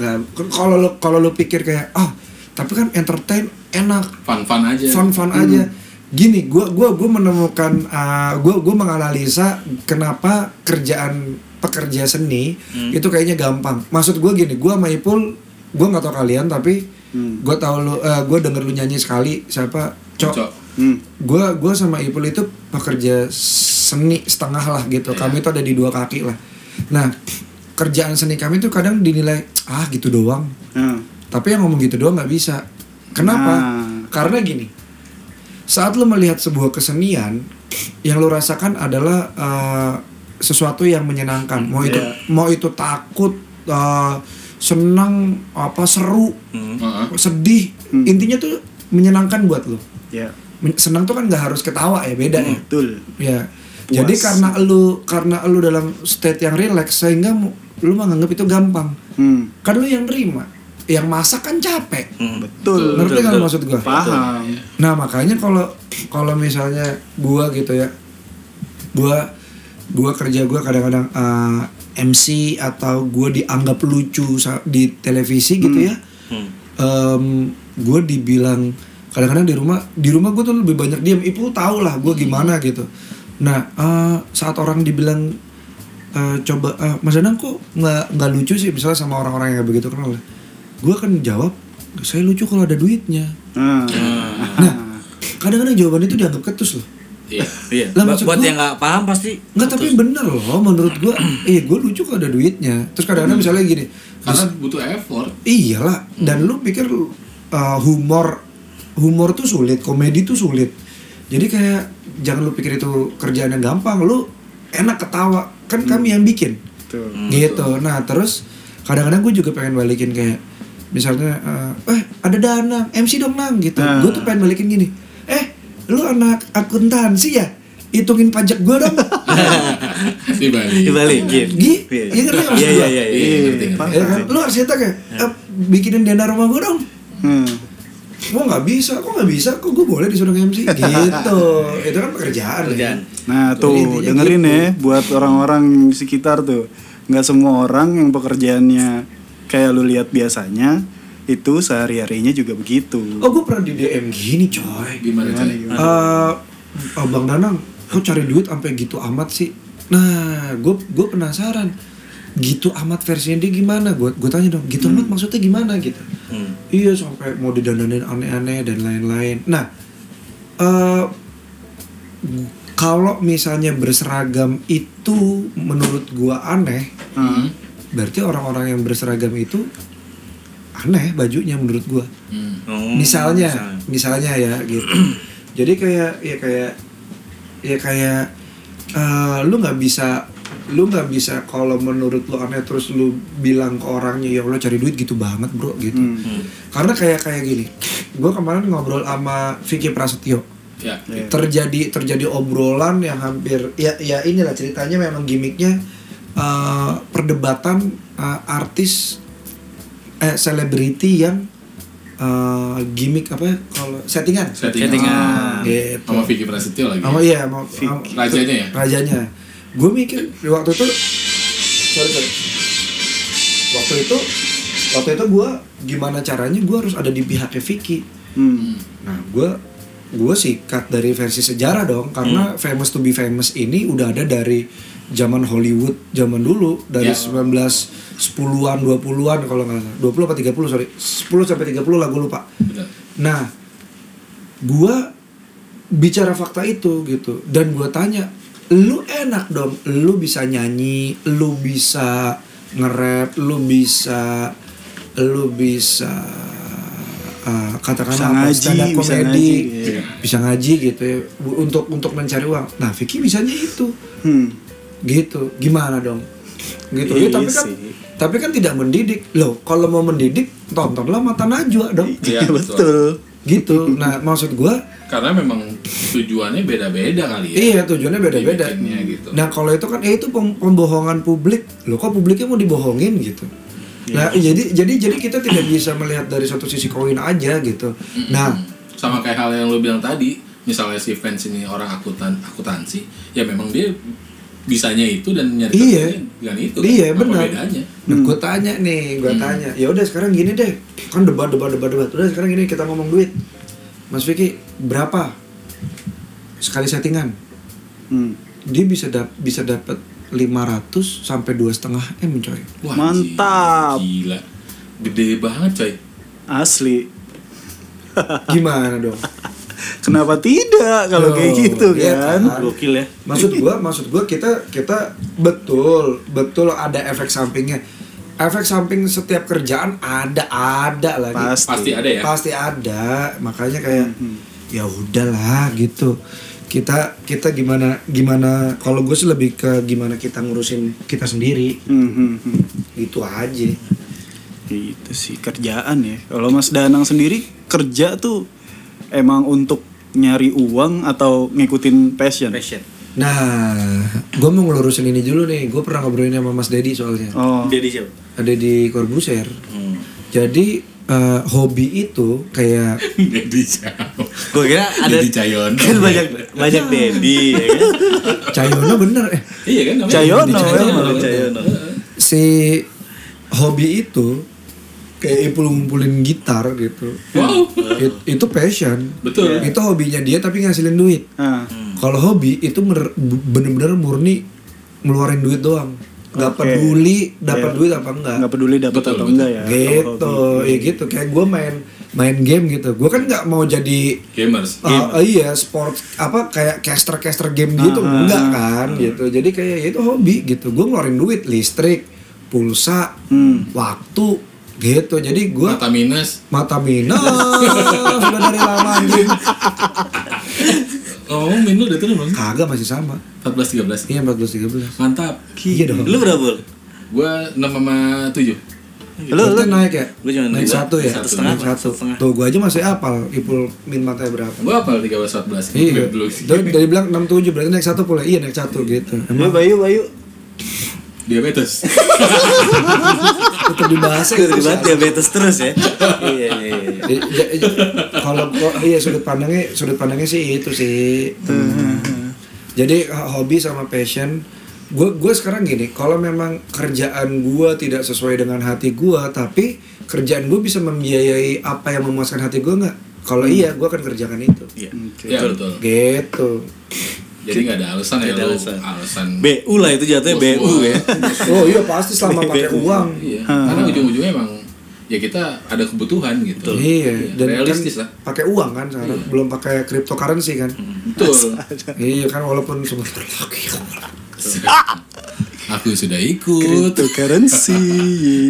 nggak kalau lu kalau lu pikir kayak ah tapi kan entertain enak Fun-fun aja. fun fun aja gini gua gua gua menemukan uh, gua gua menganalisa kenapa kerjaan pekerja seni itu kayaknya gampang maksud gua gini gua sama Ipul gua nggak tau kalian tapi Hmm. gua tahu lu uh, gua denger lu nyanyi sekali siapa cok Cok. Hmm. gua gua sama Ipul itu pekerja seni setengah lah gitu kami itu ada di dua kaki lah nah kerjaan seni kami itu kadang dinilai ah gitu doang Nah, tapi yang ngomong gitu doang nggak bisa. Kenapa? Nah. Karena gini. Saat lo melihat sebuah kesenian, yang lo rasakan adalah eh, sesuatu yang menyenangkan. Mau itu mau itu takut, eh, senang, apa seru, Hmm. Heeh. sedih. Intinya tuh menyenangkan buat lo. ya Men- Senang tuh kan nggak harus ketawa ya, beda ya. betul. Ya. Jadi karena lu karena lu dalam state yang relax sehingga mu- lu menganggap itu gampang. Hmm, Kan lu yang terima. Yang masak kan capek. Hmm. betul. Ngerti kan maksud gua? Paham. Nah, makanya kalau kalau misalnya gua gitu ya. Gua gua kerja gua kadang-kadang eh, MC atau gua dianggap lucu sa- di televisi gitu Hmm. ya. Hmm. Em, gua dibilang kadang-kadang di rumah di rumah gua tuh lebih banyak diam. Ibu tau lah gua Hmm. gimana gitu. Nah, eh, saat orang dibilang eh, coba eh, Mas Danang kok nggak nggak lucu sih misalnya sama orang-orang yang nggak begitu kenal ya. Gua kan jawab, saya lucu kalau ada duitnya. Nah, Nah, kadang-kadang jawaban itu dianggap ketus loh. Iya. Iya. Lah, Buat maksud buat gua- yang nggak paham pasti Enggak, tapi bener loh menurut gua. Eh, gua lucu kok ada duitnya. Terus kadang-kadang misalnya gini, Karena butuh effort. iyalah. Dan lu pikir uh, humor humor tuh sulit, komedi tuh sulit. Jadi kayak jangan lu pikir itu kerjaan yang gampang. Lu enak ketawa. Kan kami yang bikin. betul. gitu nah terus kadang-kadang gue juga pengen balikin kayak misalnya eh eh ada danang MC dong nang gitu Nah. gue tuh pengen balikin gini "Eh, lu anak akuntansi ya hitungin pajak gua dong di Bali. Dibalikin. Gi- iya ngerti nggak maksud Iya iya gua? iya. Iya, iya. ngerti, ngerti. ya kan? lu harus hitung kayak "Eh, bikinin dana rumah gua dong Hmm. gua nggak bisa kok nggak bisa kok gua boleh disuruh MC gitu itu kan pekerjaan Kerjaan. Nah Jadi tuh intinya dengerin gitu. ya buat orang-orang di sekitar tuh nggak semua orang yang pekerjaannya kayak lu lihat biasanya itu sehari harinya juga begitu. oh gua pernah di DM gini coy Gimana caranya? Eh, Abang Danang, kok cari duit sampai gitu amat sih? Nah, gue gue penasaran. Gitu amat versinya dia gimana? Gue gue tanya dong, gitu amat maksudnya gimana gitu? Iya sampai mau didandanin aneh-aneh dan lain-lain. Nah, eh kalau misalnya berseragam itu menurut gua aneh, Hmm. berarti orang-orang yang berseragam itu aneh bajunya menurut gua Hmm. Oh, misalnya misalnya ya gitu (clears throat) jadi kayak ya kayak ya kayak eh, lu nggak bisa lu nggak bisa kalau menurut lu aneh terus lu bilang ke orangnya ya Allah cari duit gitu banget bro Hmm. gitu karena kayak kayak gini gue kemarin ngobrol sama Vicky Prasetyo Ya. terjadi terjadi obrolan yang hampir ya ya inilah ceritanya memang gimmicknya eh, perdebatan eh, artis eh selebriti yang eh, gimmick apa ya, kalau settingan Settingan. gitu Sama Vicky Prasetyo lagi. sama iya sama sama- Rajanya ya? rajanya gue mikir di waktu itu sorry sorry waktu itu waktu itu gue gimana caranya gue harus ada di pihaknya Vicky Hmm. Nah, gue gue sikat dari versi sejarah dong, karena famous to be famous ini udah ada dari zaman Hollywood zaman dulu Ya. dari 1910-an 20-an kalau nggak salah. 20 apa 30 sorry. 10 sampai 30 lah gue lupa. Benar. Nah, gua bicara fakta itu gitu dan gua tanya, lu enak dong, lu bisa nyanyi, lu bisa nge-rap, lu bisa lu bisa eh, Bisa katakanlah apa, ngaji, stand up bisa comedy, ngaji, iya. bisa ngaji gitu ya bu- untuk untuk mencari uang. Nah, Vicky bisanya itu Hmm. gitu gimana dong gitu ya, Iya tapi kan sih. tapi kan tidak mendidik loh kalau mau mendidik tontonlah mata najwa dong Iya, betul. Betul. (laughs) gitu nah maksud gua Karena memang tujuannya beda-beda kali ya. iya tujuannya beda-beda Dibikinnya gitu. nah kalau itu kan ya itu pem- pembohongan publik loh kok publiknya mau dibohongin gitu Iya. nah jadi jadi jadi kita tidak bisa melihat dari satu sisi koin aja gitu nah (clears throat) sama kayak hal yang lo bilang tadi misalnya si fans ini orang akutan akuntansi ya memang dia bisanya itu dan nyari Iya. kerjanya dengan itu kan. Iya, Apa benar. bedanya Nah, gue tanya nih, gue tanya. Ya udah sekarang gini deh. Kan debat debat debat debat. Udah sekarang gini kita ngomong duit. Mas Vicky, berapa sekali settingan? Hmm. Dia bisa dap bisa dapat 500 sampai dua setengah m coy. Wah, Mantap. gila gede banget coy Asli. Gimana dong? Kenapa tidak (laughs) kalau kayak Loh, gitu iya kan? kan? Gokil ya. maksud (laughs) gua maksud gua kita kita betul betul ada efek sampingnya. Efek samping setiap kerjaan ada ada lagi. Pasti. Hmm. pasti ada (laughs) ya pasti ada makanya kayak ya udahlah gitu kita kita gimana gimana kalau gue sih lebih ke gimana kita ngurusin kita sendiri Hmm, hmm, hmm. gitu aja Itu sih kerjaan ya. Kalau Mas Danang sendiri kerja tuh emang untuk nyari uang atau ngikutin passion? Passion. nah gue mau ngelurusin ini dulu nih gue pernah ngobrolin sama mas deddy soalnya Oh. Jadi siapa? ada di Corbusier Hmm. jadi eh, hobi itu kayak jadi jauh Gue kira ada jadi cayon kan banyak banyak Dedi ya kan. Cayono bener eh iya kan namanya Cayono, ya, ya, Jadi emang betul. Cayono. si hobi itu kayak ipul ngumpulin gitar gitu wow It- itu passion Betul. Iya. itu hobinya dia tapi ngasilin duit Ah. kalau hobi itu mer- bener-bener murni ngeluarin duit doang Oke. nggak peduli dapat Iya. duit apa enggak nggak peduli dapat Betul, atau betul. enggak ya kalau gitu hobi. ya gitu kayak gue main main game gitu gue kan nggak mau jadi gamers Ah, iya sport apa kayak caster caster game gitu Ah. enggak kan gitu jadi kayak ya itu hobi gitu gue ngeluarin duit listrik pulsa waktu gitu jadi gue mata minus mata minus sudah dari lama anjing ngomong min lu udah turun belum kagak masih sama 14 13 iya 14 13 mantap iya dong Lu berapa? Bul? gua 6 sama 7 Lu Lu lu naik ya? Gua cuma naik dua. satu ya. Satu setengah, Naik satu. satu setengah. Tuh gua aja masih apal Ipul min matanya berapa. Gue apal 314 Iya. dulu Dari, dari bilang 67 berarti naik satu pula. Iya naik satu gitu. Lu Emang Bayu Bayu. Diabetes. tetap dibahas ya. Gue banget diabetes terus ya. Iya iya iya. Ya, ya, ya. Kalau gua- iya sudut pandangnya sudut pandangnya sih itu sih. Jadi h- hobi sama passion gue gue sekarang gini kalau memang kerjaan gue tidak sesuai dengan hati gue tapi kerjaan gue bisa membiayai apa yang memuaskan hati gue nggak kalau iya gue akan kerjakan itu Iya. Iya betul. gitu Jadi nggak ada alasan Nggak ya ada lu alasan. alasan. BU lah itu jatuhnya Bos BU ya. oh iya pasti selama pakai BBU. uang (laughs) Iya. Karena ujung-ujungnya emang ya kita ada kebutuhan gitu. iya dan Realistis lah. kan Hmm. pakai uang kan sekarang belum pakai cryptocurrency kan (laughs) Betul. iya kan walaupun sebentar lagi Aku sudah ikut. Cryptocurrency.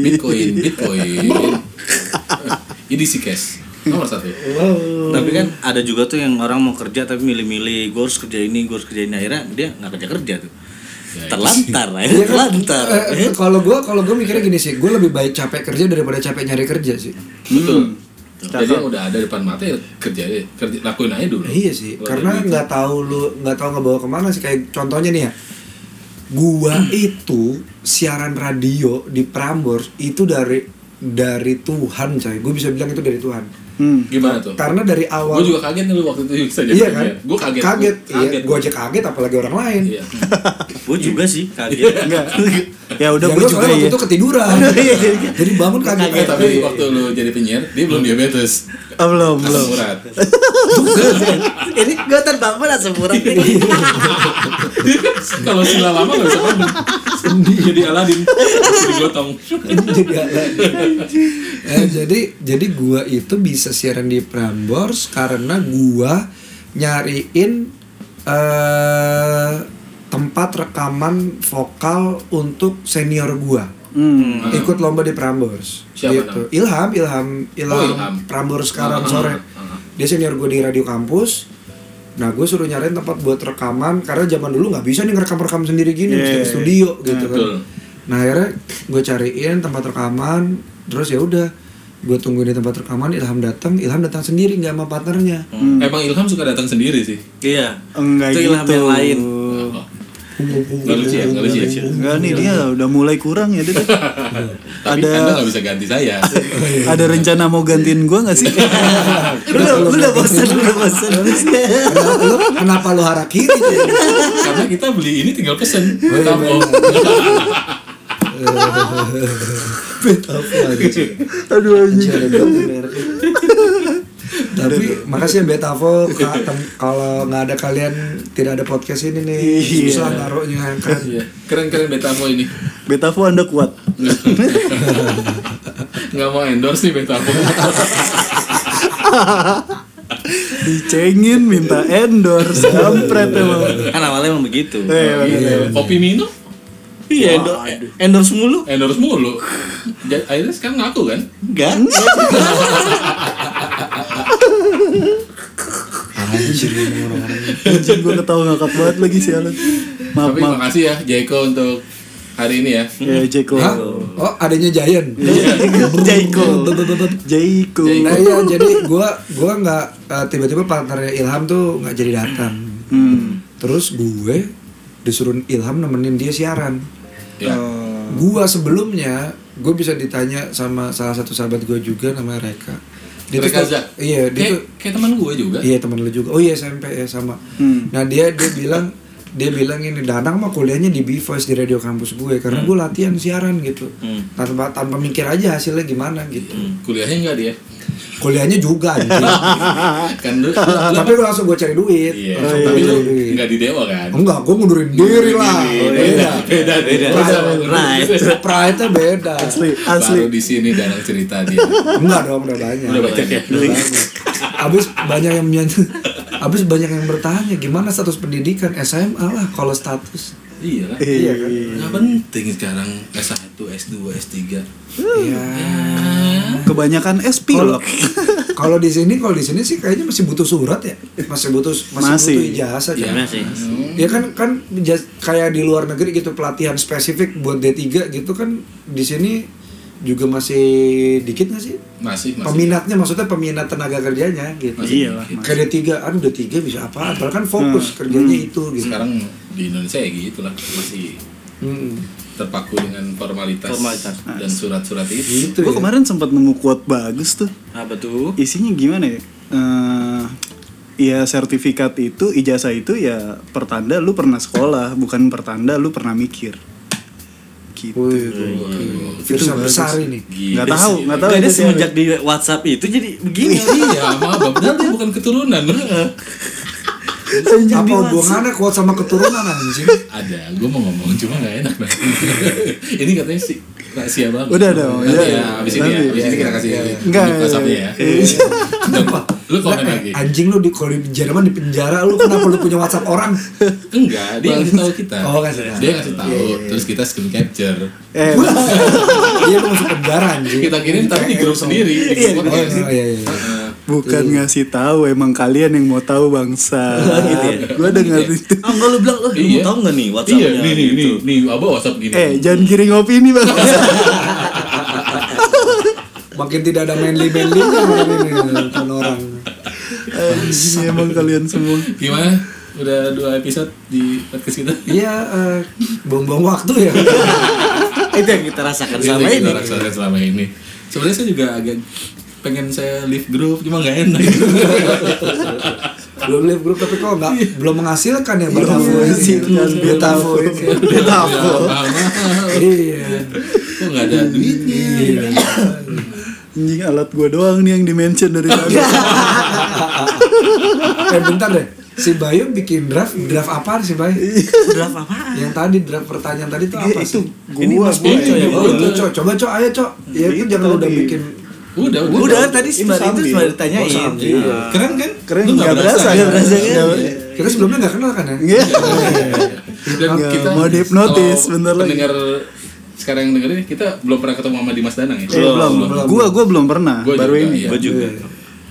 Bitcoin, Bitcoin. (laughs) Ini si cash nomor satu. wow Tapi kan ada juga tuh yang orang mau kerja tapi milih-milih, gue harus kerja ini, gue harus kerja ini akhirnya dia nggak kerja kerja tuh. Terlantar, lah ya, Ya, Iya kan? terlantar. Eh, eh, kalau gue kalau gue mikirnya gini sih, gue lebih baik capek kerja daripada capek nyari kerja sih. Betul. Jadi yang udah ada depan mata ya kerja aja, kerja lakuin aja dulu. Nah, iya sih, Kalau karena ada duit. nggak tahu lu nggak tahu ngebawa kemana sih. Kayak contohnya nih ya, gua itu siaran radio di Prambors itu dari dari Tuhan coy. Gue bisa bilang itu dari Tuhan. Hmm. gimana tuh? Karena dari awal Gue juga kaget nih lu waktu itu bisa jadi. iya kan? Gue kaget. Kaget, Gua iya. Gue aja kaget, apalagi orang lain. Iya. Gue juga sih (laughs) kaget. Enggak. Ya udah Ya, gue gua Iya. juga soalnya waktu ya. itu ketiduran. (laughs) Jadi bangun kaget. Eh, tapi waktu lu jadi penyiar, dia belum diabetes. Oh, belum belum. Asam urat. Ini gue terbangun langsung murah (laughs) Kalau sila lama nggak bisa mandi. Jadi Aladin. Digotong. jadi (laughs) eh, jadi jadi gua itu bisa siaran di Prambors karena gua nyariin eh tempat rekaman vokal untuk senior gua. Hmm. Hmm. Ikut lomba di Prambors. Gitu. Siapa Ilham, Ilham, Ilham, Oh, Ilham. Prambors sekarang Ah, sore. ah, ah. Dia senior gue di radio kampus. Nah, gue suruh nyariin tempat buat rekaman karena zaman dulu nggak bisa nih ngerekam-rekam sendiri Iya, gini, mesti iya, ke iya. studio gitu kan. Betul. Nah akhirnya gue cariin tempat rekaman, terus ya udah gue tungguin di tempat rekaman Ilham datang, Ilham datang sendiri nggak sama partnernya. Hmm. Emang Ilham suka datang sendiri sih. Iya. Enggak itu gitu. Iya, ilham yang lain. Nggak lucu ya, nggak lucu ya. Enggak nih dia udah mulai kurang ya dia. tuh. Tapi Ada- Anda nggak bisa ganti saya. Ada rencana mau gantiin gua nggak sih? Lu udah, lu udah bosan, lu udah bosan. Kenapa lu, kenapa lu harap (laughs) kiri? Karena kita beli ini tinggal pesen. iya, Tampol. gitu. Aduh anjing. (laughs) Tapi makasih ya Betavo Kak, tem- kalau nggak ada kalian tidak ada podcast ini nih Iya. susah naruhnya kan. Iya. Keren-keren Betavo ini. Betafo Anda kuat. Nggak mau endorse nih Betavo. Dicengin minta endorse kampret emang. (laughs) Kan awalnya emang begitu. Eh, Iya. Kopi minum, Iya, endo- endorse mulu. endorse mulu. Ja- Akhirnya sekarang ngaku kan? Enggak. Anjir ini orang-orang. anjing gua ketawa ngakak banget lagi sialan. Maaf Tapi maaf. makasih ya Jeko untuk hari ini ya. Ya Jeko. (laughs) Hah? Oh adanya Giant. Iya. Jaiko. Jaiko. Nah iya jadi gua gua nggak eh, tiba-tiba partnernya Ilham tuh nggak jadi datang. Hmm. Terus gue disuruh Ilham nemenin dia siaran. Ya. Gua sebelumnya gue bisa ditanya sama salah satu sahabat gue juga namanya Reka. tuh- Rekaza. Iya dia Kayak, tuh- kayak teman gue juga. Iya teman lu juga. Oh iya SMP ya sama. Hmm. Nah dia dia bilang dia bilang ini Danang mah kuliahnya di B Voice di radio kampus Hmm. gue karena gue latihan siaran gitu. Hmm. Tanpa tanpa mikir aja hasilnya gimana gitu. Hmm. Kuliahnya enggak dia. Kuliahnya juga (laughs) anjing. Kan lu, lu- tapi gue langsung gue cari duit Iya. langsung Tapi gue lu cari duit enggak di dewa kan? enggak gue ngundurin diri lah Oh, iya. Beda, beda beda, beda. Right. pride nya beda Asli asli. Baru di sini Danang cerita dia. enggak dong udah banyak Udah banyak ya. Udah banyak. abis banyak yang menyanyi abis banyak yang bertanya gimana status pendidikan SMA lah kalau status Iya lah. Iya kan? Nggak penting sekarang S1, S2, S3. Iya. Eh, Kebanyakan es Oh, pilek. gitu (laughs) kalau di sini kalau di sini sih kayaknya masih butuh surat ya masih butuh masih, Masih. butuh ijazah Iya, kan? sih. Ya kan kan jas- kayak di luar negeri gitu pelatihan spesifik buat D3 gitu kan di sini juga masih dikit nggak sih? masih masih Peminatnya maksudnya peminat tenaga kerjanya gitu. Masih Iya Hmm. lah. dikit. Kerja tiga, aduh udah tiga bisa apa? Padahal kan fokus kerjanya itu gitu. sekarang di Indonesia ya gitulah masih Hmm. terpaku dengan formalitas, Formalitas. dan surat-surat itu Gitu Gue ya. kemarin sempat nemu quote bagus tuh. Apa tuh? Isinya gimana ya? Eh, ya sertifikat itu, ijazah itu ya pertanda lu pernah sekolah, bukan pertanda lu pernah mikir. Gitu. Wih, Firsa besar ini. Gila Nggak Iya tahu, sih. nggak tahu. Gak ada itu semenjak di WhatsApp itu jadi begini. iya maaf Bapak dia bukan keturunan Anjing Apa di WhatsApp. hubungannya kuat sama keturunan anjing? ada gue mau ngomong cuma nggak enak Bang. ini katanya sih rahasia banget Udah dong, Nanti iya, ya iya. abis ini ya Nanti. abis ini kita kasih Iya, iya. Nggak, link iya, WhatsApp-nya iya. ya Kenapa? lu komen Eh, lagi Anjing lu di kalau di Jerman di penjara lu kenapa lu punya WhatsApp orang? (laughs) enggak dia ngasih tahu kita Oh, kasih tahu. dia ngasih tahu Iya, iya, iya. terus kita screen capture Eh, Iya lu masuk penjara anjing. kita kirim tapi di grup sendiri di Iya, grup oh, podcast. iya, iya. Heeh. bukan ngasih tahu, emang kalian yang mau tahu bangsa. gitu ya. Gue dengar itu. Ah, enggak lu bilang, "Eh, lu Iya. mau tau gak nih iya WhatsApp-nya?" nih nih gitu. nih nih abah whatsapp gini Eh, jangan giring opini bang. Makin tidak ada manly manly orang. Anjing, emang kalian semua. gimana udah dua episode di podcast kita Iya, eh, buang-buang waktu ya. Ah, Itu yang kita rasakan Kan Itu selama Iya, yang kita ini. rasakan selama ini sebenarnya saya juga agak pengen saya leave group cuma nggak enak Belum live grup tapi kok nggak belum menghasilkan ya Bang Belum Afo ini. menghasilkan, Beta Afo ini. Beta apa? Iya. kok nggak ada duitnya Anjing alat gue doang nih yang dimention dari tadi. Eh bentar deh. Si Bayu bikin draft, draft apa sih Bayu? Draft apaan? Yang tadi draft pertanyaan tadi Iya, itu apa Iya, itu sih? ini mas Boy, Boy, Boy, ya, Oh, Boy. itu Cok. Coba Cok, ayo Cok. Ya itu Itu jangan udah tadi. bikin udah udah, Udah tadi Ini sebenarnya itu sambil. cuma Oh, ditanyain. sambil. Iya. keren kan keren Lu Eh, nggak berasa kan? nggak berasa kan Iya. Kita sebelumnya nggak kenal kan ya? Iya. Dan Nggak kita mau dihipnotis, kalau bentar lagi. pendengar sekarang yang dengerin kita belum pernah ketemu sama Dimas Danang ya Eh, belum belum. gua gua belum pernah Gua baru juga, ini iya. Gua juga.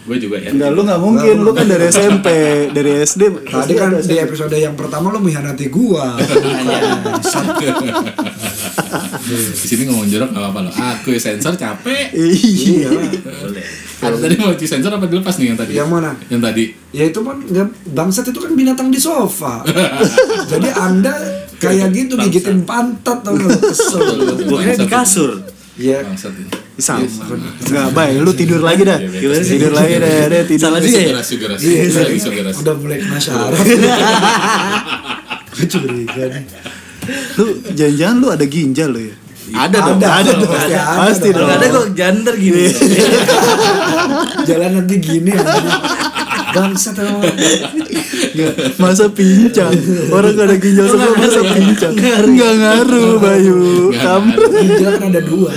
gue juga ya enggak lu nggak mungkin lu kan dari SMP dari Iya, SD Tadi kan di episode yang pertama lo mengkhianati gua. di sini ngomong jorok nggak apa-apa loh aku sensor capek iya Iya. Boleh. Ada tadi mau di sensor apa dilepas nih yang tadi Yang mana? yang tadi Ya itu kan nggak- bangsat itu kan binatang di sofa. Jadi anda kayak gitu gigitin pantat tau nggak? Kesel. Gua kira di kasur. Iya. Ya bangsat ini sama nggak baik lu tidur lagi dah Iya, tidur lagi dah deh tidur Salah dia. ya? sugeras sugeras Iya, lagi iya. sugeras udah mulai kena syaraf. Gue curiga nih. lu jangan-jangan lu ada ginjal lu ya Ada dong. ada dong, Ada. pasti ada Pasti dong. Kalau ada kok jander gini. Iya. Jalan nanti gini anjing. Bangsat emang. Nggak, masa pincang orang nggak ada ginjal semua masa pincang nggak ngaruh Bayu Nggak kamu ngaruh. Ginjal kan ada dua.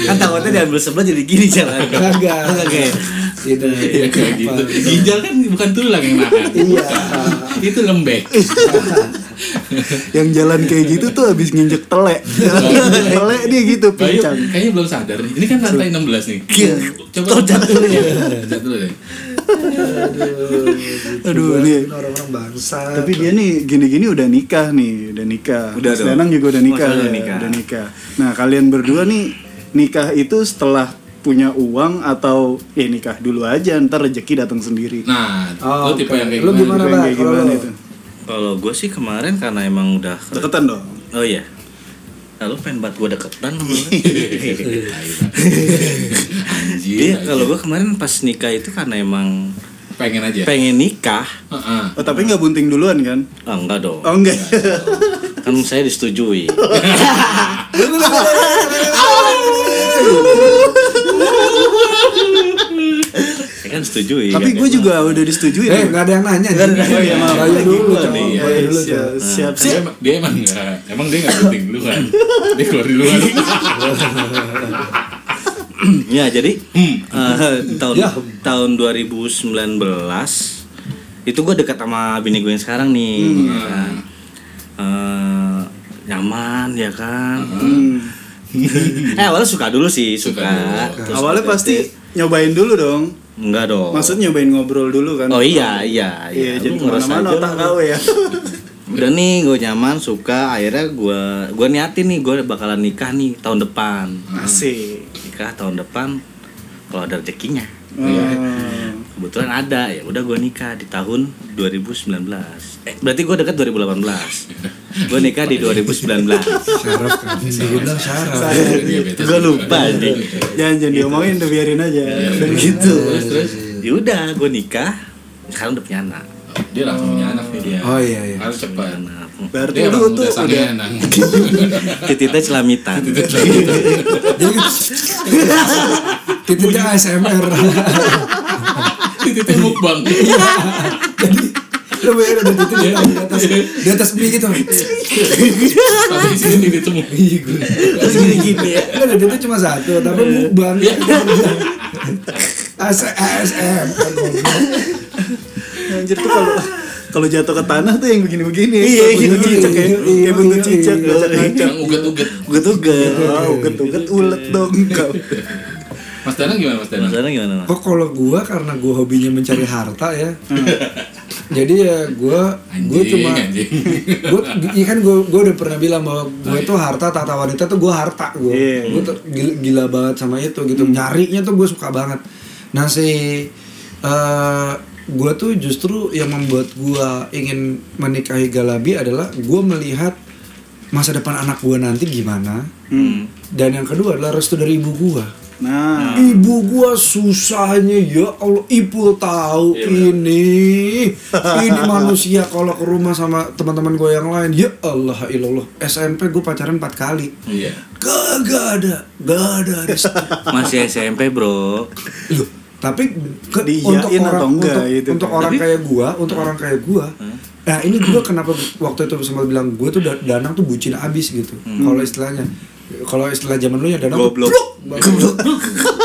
kan takutnya diambil sebelah jadi gini jalan. Iya, Kagak. Oke. Tidak. (laughs) Iya kayak gitu. Ginjal kan bukan tulang yang nahan. Iya. Itu lembek. yang jalan kayak gitu tuh habis nginjek telek jalan telek dia gitu Bayu pincang kayaknya belum sadar nih. Ini kan lantai 16 nih. Iya. Coba Tuh, jatuh dulu ya. Jatuh dulu deh. Aduh, nih. kan orang-orang bangsa. tapi dia nih gini-gini udah nikah nih udah nikah Udah Mas dong. Danang juga udah Mas nikah, Danang ya, udah nikah. udah nikah nah kalian berdua nih nikah itu setelah punya uang atau ya nikah dulu aja ntar rezeki datang sendiri Nah, Oh, lu tipe oke. yang kayak Lu gimana? gimana, Yang Bang? kayak Kalau gimana lu? itu Kalau gue sih kemarin karena emang udah deketan dong Oh iya. Lalu pengen banget gue deketan sama lu. Iya. Anjir. Iya, anjir. kalau gue kemarin pas nikah itu karena emang pengen aja. pengen nikah. Heeh. oh tapi nggak bunting duluan kan Ah, enggak dong. oh enggak Kan saya disetujui. iya. saya kan setujui. (laughs) tapi kan? gue juga udah disetujui Eh, nggak ada yang nanya. anjing. Oh iya, maaf. Bayu dulu, Gua Cok. nih, iya. ya. Bayu dulu, Cok. Dia, Siap, siap, siap. emang- dia emang enggak, emang dia enggak penting lu kan. Dia keluar di luar. ya jadi eh, tahun Ya. tahun 2019 itu gue dekat sama bini gue yang sekarang nih Hmm. ya kan. Eh, nyaman ya kan Hmm. eh awalnya suka dulu sih Suka suka, dulu. Terus- awalnya pasti nyobain dulu dong enggak dong maksud nyobain ngobrol dulu kan oh iya iya Iya, jadi Lu ngerasa kemana-mana aja otak lah. kau ya (laughs) udah nih gue nyaman suka akhirnya gue gue niatin nih gue bakalan nikah nih tahun depan Asik. nikah tahun depan kalau ada rezekinya Ah. kebetulan ada ya udah gue nikah di tahun 2019 eh, berarti gue dekat (laughs) 2018 gue nikah di 2019 Syaraf kan. Dia bilang syaraf. Saya Iya, Diabetes. gue lupa Diabetes. nih. Jangan jangan diomongin, udah biarin aja. Udah iya. gitu. Terus terus ya udah gue nikah sekarang udah punya anak dia langsung punya anak nih dia. Oh iya iya. Harus cepat. anak (laughs) Berarti Dia lu Iya, emang tuh udah udah sangean. Nang. tititnya celamitan (laughs) Titipnya ASMR. Titiknya mukbang. (laughs) Lu bayar udah titip di atas di atas mie gitu. Tapi di sini titiknya mukbang. Iya gue. terus gini gini ya. Iya. Kan ada itu cuma satu, tapi mukbang. (laughs) AS- ASMR. Anjir tuh kalau kalau jatuh ke tanah tuh yang begini-begini. Iya, Kayak iya, bentuk cicak ya. iya, iya, Kayak bentuk iya, cicak iya. ngacak-ngacak. Yang uget-uget. Gue tuh uget-uget ulet dong kau. Mas Danang gimana Mas Danang? maksudnya gimana mas? Kok Oh, kalau gua karena gua hobinya mencari harta ya. Jadi ya gua Hmm. gua Anjing, cuma anjing. gue iya kan gue gue udah pernah bilang bahwa gue tuh harta tata wanita tuh gue harta gue Iya. gue tuh gila, gila banget sama itu gitu nyarinya tuh gue suka banget nah si eh gue tuh justru yang membuat gue ingin menikahi Galabi adalah gue melihat masa depan anak gue nanti gimana dan yang kedua adalah restu dari ibu gue Nah, Hmm. Ibu gua susahnya ya Allah Ibu tahu Iya, ini Ini manusia kalau ke rumah sama teman-teman gua yang lain Ya Allah ilallah SMP gua pacaran 4 kali Iya. Gak ada Gak ada rezeki. (laughs) masih SMP bro Loh, Tapi ke- Diiyain untuk orang, atau enggak untuk, gitu untuk kan? Hmm. orang kayak gua Untuk orang kayak gua Nah ini gua kenapa waktu itu sempat bilang Gue tuh da- danang tuh bucin abis gitu Hmm. Kalau istilahnya kalau istilah zaman lu ya danang tuh Goblok. bluk, bluk. (laughs)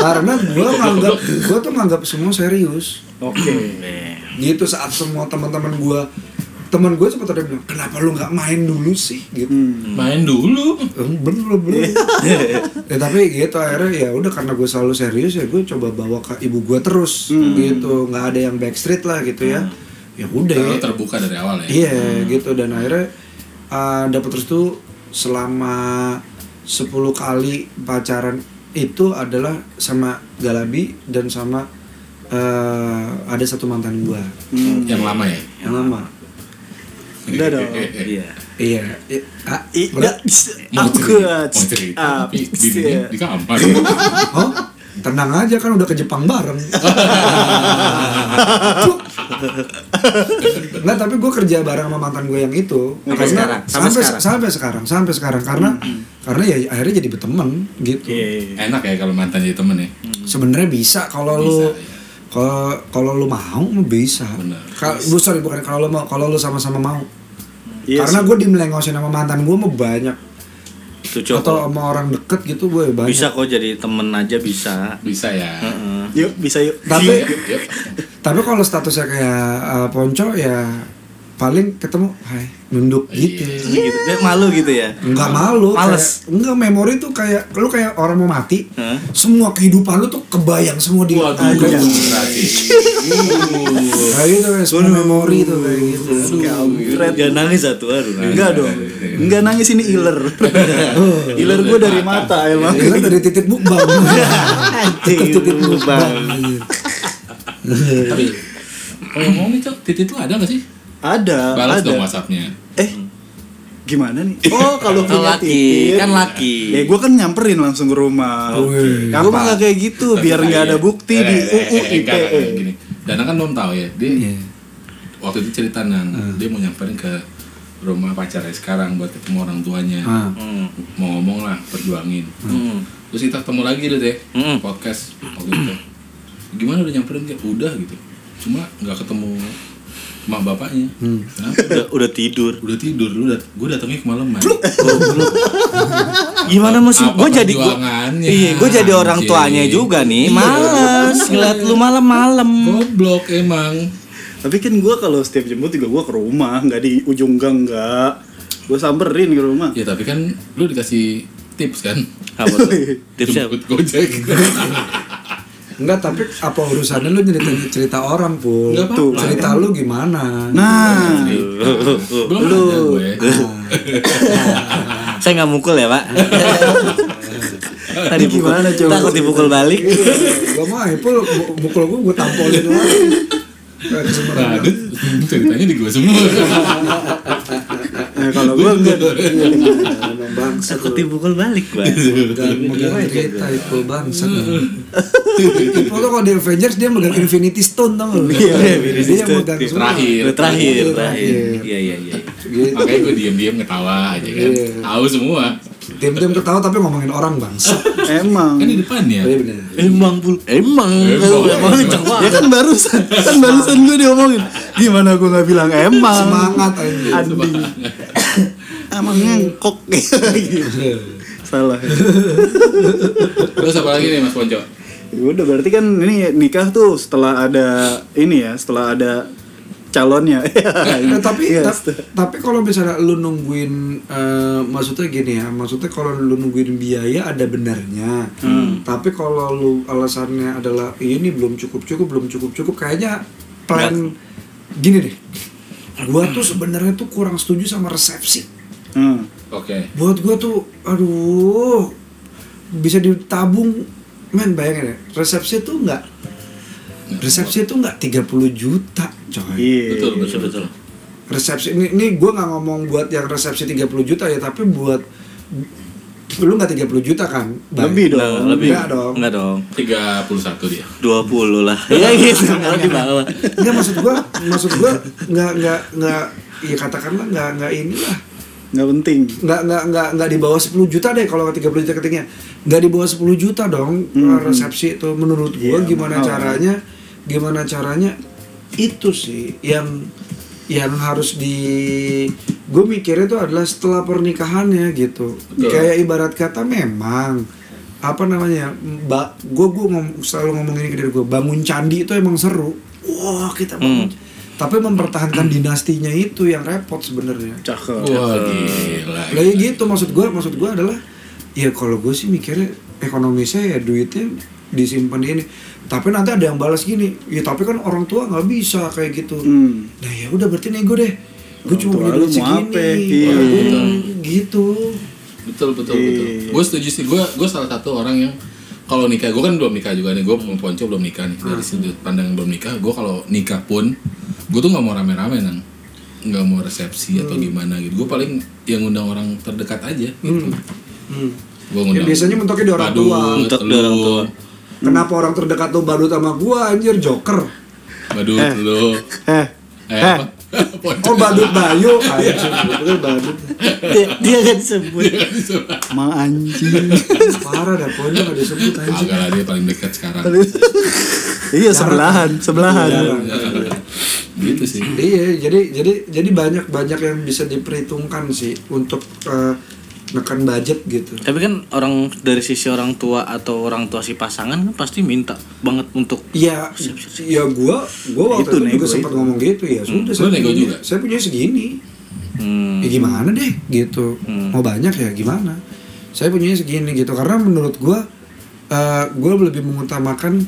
karena gua nganggap gua tuh nganggap semua serius oke. Eh, gitu saat semua teman-teman gua teman gue sempat ada yang bilang kenapa lu nggak main dulu sih gitu Hmm. "Eh, Main dulu. Em, belum belum (laughs) ya, tapi gitu akhirnya ya udah karena gue selalu serius ya gue coba bawa ke ibu gua terus gitu nggak ada yang backstreet lah gitu ya ya Iya. udah Terlalu terbuka dari awal ya. Iya gitu dan akhirnya uh, dapat restu selama 10 kali pacaran itu adalah sama Galabi dan sama uh, ada satu mantan gua Yang lama ya. yang lama. Udah dong. iya Iya. I- ah, I- berat. Mau Aku Ah, Iya. cerita, mau cerita, tapi ya. bininya di ya. kamar. Oh, tenang aja kan udah ke Jepang bareng. Cuk. Nggak, tapi gue kerja bareng sama mantan gue yang itu. Sampai Karena- sekarang, sampai sampai sekarang. sampai sekarang, sampai sekarang karena karena ya akhirnya jadi berteman gitu. Iya. Enak ya kalau mantan jadi temen ya. Hmm. Sebenarnya bisa kalau Bisa, lu iya. kalau kalau lu mau mah bisa. Benar. Kalau bu sorry bukan kalau lu mau, kalau lu sama-sama mau. Iya karena sih. gue dimelengosin sama mantan gue mah banyak itu atau coba sama orang deket gitu gue banyak. bisa kok jadi temen aja bisa Bisa ya. Heeh. Yuk, bisa yuk. Iya. Tapi Yep, yep. Tapi kalau statusnya kayak uh, ponco ya paling ketemu hai nunduk gitu. gitu dia malu gitu ya Enggak malu, Males. kayak- enggak memori tuh kayak lu kayak orang mau mati. Hah? Semua kehidupan lu tuh kebayang semua Iya, di Waduh, Kayak- berarti. Kayak gitu kayak semua memori tuh kayak gitu. Jangan nangis satu aduh nangis. Enggak dong. Enggak nangis ini iler. iler gue dari mata emang. Ya kan (laughs) dari titik mukbang. (laughs) Anjing. Bang. Tapi kalau mau nih cok, titik lu ada nggak sih? Ada, Balas ada. dong WhatsAppnya. Eh, gimana nih? Oh, Kalau kalau punya laki, titik. kan laki. Ya gue kan nyamperin langsung ke rumah. Wih. Gue mah gak kayak gitu, biar nggak ya. ada bukti di UU Eh, Enggak, ITE. gini. Dana kan belum tahu ya. Dia Iya. waktu itu cerita nang, Hmm. dia mau nyamperin ke rumah pacarnya sekarang buat ketemu orang tuanya. Ah. Hmm. Mau ngomong lah, perjuangin. Hmm. Terus kita ketemu lagi deh deh, Hmm. podcast waktu itu. Gimana udah nyamperin kayak udah gitu. Cuma nggak ketemu mak bapaknya. Kenapa? Udah, udah tidur udah tidur lu dat gue datangnya kemalaman gimana Apa- mas apa gue jadi gue perjuangannya, iya gue jadi orang anjing. tuanya juga nih Iya. males ngeliat lu malam-malam goblok emang Tapi kan gue kalau setiap jemput juga gue ke rumah, nggak di ujung gang nggak. Gue samperin ke rumah. ya tapi kan lu dikasih tips kan (laughs) apa tuh tipsnya jemput gojek Enggak, tapi apa urusannya lu cerita cerita orang pun? Nggak Tuh. apa-apa. Cerita lu gimana? Nah, Belum Lu. ada gue. Saya nggak mukul ya pak. Tadi pukul, Gimana, coba? takut dipukul balik. Gua mah Ipul bu- ya, mukul gua gua tampolin lagi. Nah, Kayak kesempatan. Dut, ceritanya di gue semua. eh, kalau gue enggak. Emang Bangsa Takut dipukul balik pak. Dan mau cerita Ipul bangsa. Ipul tuh kalau di Avengers dia megang Infinity Stone tau nggak? Iya, Infinity Dia Stone. megang semua. Terakhir. Terakhir, terakhir. Terakhir. Iya iya iya. Gitu. Makanya gue diem-diem ketawa aja kan. Iya. Tahu semua. Diam-diam ketawa tapi ngomongin orang bangsa. Emang. Kan di depannya. Iya bener. Emang pul, emang, Emang. emang kenceng Ya banget. kan barusan, kan barusan gue diomongin. Gimana gue nggak bilang emang? Semangat aja. Anding. Emang ngengkok (laughs) Salah. Terus apa lagi nih Mas Ponco? Ya udah berarti kan ini nikah tuh setelah ada ini ya, setelah ada calonnya. (laughs) Eh, Nah, tapi Iya, ta- setelah- tapi kalau misalnya lu nungguin eh, maksudnya gini ya maksudnya kalau lu nungguin biaya ada benarnya tapi kalau lu alasannya adalah "Iya, ini belum cukup cukup belum cukup cukup kayaknya plan gini deh gua tuh sebenarnya tuh kurang setuju sama resepsi Hmm. Oke. buat gua tuh aduh bisa ditabung men bayangin ya resepsi tuh nggak resepsi tuh nggak 30 juta coy Iya. Betul, Betul betul. betul. resepsi ini ini gue nggak ngomong buat yang resepsi 30 juta ya tapi buat lu nggak 30 juta kan Bang? Lebih dong. Nah, lebih. Enggak dong. Enggak dong. 31 dia. 20 lah. Ya gitu, kalau di bawah. nggak maksud gue maksud gue nggak nggak nggak ya katakanlah nggak nggak inilah Nggak penting. nggak nggak nggak nggak di bawah 10 juta deh kalau 30 juta ketinggian nggak di bawah 10 juta dong eh, resepsi itu menurut gue Iya, gimana mahal. caranya gimana caranya itu sih yang yang harus di gue mikirnya itu adalah setelah pernikahannya gitu Betul. kayak ibarat kata memang apa namanya mbak gue gue ngom- selalu ngomong ini ke diri gue bangun candi itu emang seru wah kita Hmm. bangun tapi mempertahankan dinastinya itu yang repot sebenarnya Cakep. Wah, gila. Nah, iya, lah ya gitu maksud gue maksud gue adalah ya kalau gue sih mikirnya ekonomisnya ya duitnya disimpan di ini tapi nanti ada yang balas gini ya tapi kan orang tua nggak bisa kayak gitu Hmm. nah ya udah berarti nego deh gue Orang cuma tua punya lu duit mau segini apa? Iya. Orang tua gitu betul betul betul Iya. gue setuju sih gue gue salah satu orang yang kalau nikah gue kan belum nikah juga nih gue belum ponco belum nikah nih Ah. dari sudut pandang belum nikah gue kalau nikah pun gue tuh nggak mau rame-rame nang nggak mau resepsi Hmm. atau gimana gitu gue paling yang ngundang orang terdekat aja gitu Hmm. gue ngundang Ya, biasanya mentoknya di orang Badut, tua. Mentok di orang lu, tua. kenapa orang terdekat tuh badut sama gue anjir joker badut lu (laughs) Eh, eh apa (laughs) Ponco. oh badut (laughs) bayu Iya, anjir bener badut Dia, dia kan sebut. mang anjing. (laughs) parah dah pokoknya nggak disebut anjir agak lah dia paling dekat sekarang iya sebelahan, sebelahan. (laughs) gitu sih Iya, jadi jadi jadi banyak banyak yang bisa diperhitungkan sih untuk eh, nekan budget gitu. Tapi kan orang dari sisi orang tua atau orang tua si pasangan kan pasti minta banget untuk Ya, ya gua gua Nah, waktu Itu itu, nego juga sempat itu. Hmm. ngomong gitu ya. Sudah Lu saya nego punya- juga? Saya punya segini. hmm, Ya gimana deh gitu. Hmm. Mau banyak ya gimana? Saya punya segini gitu karena menurut gua eh, gua lebih mengutamakan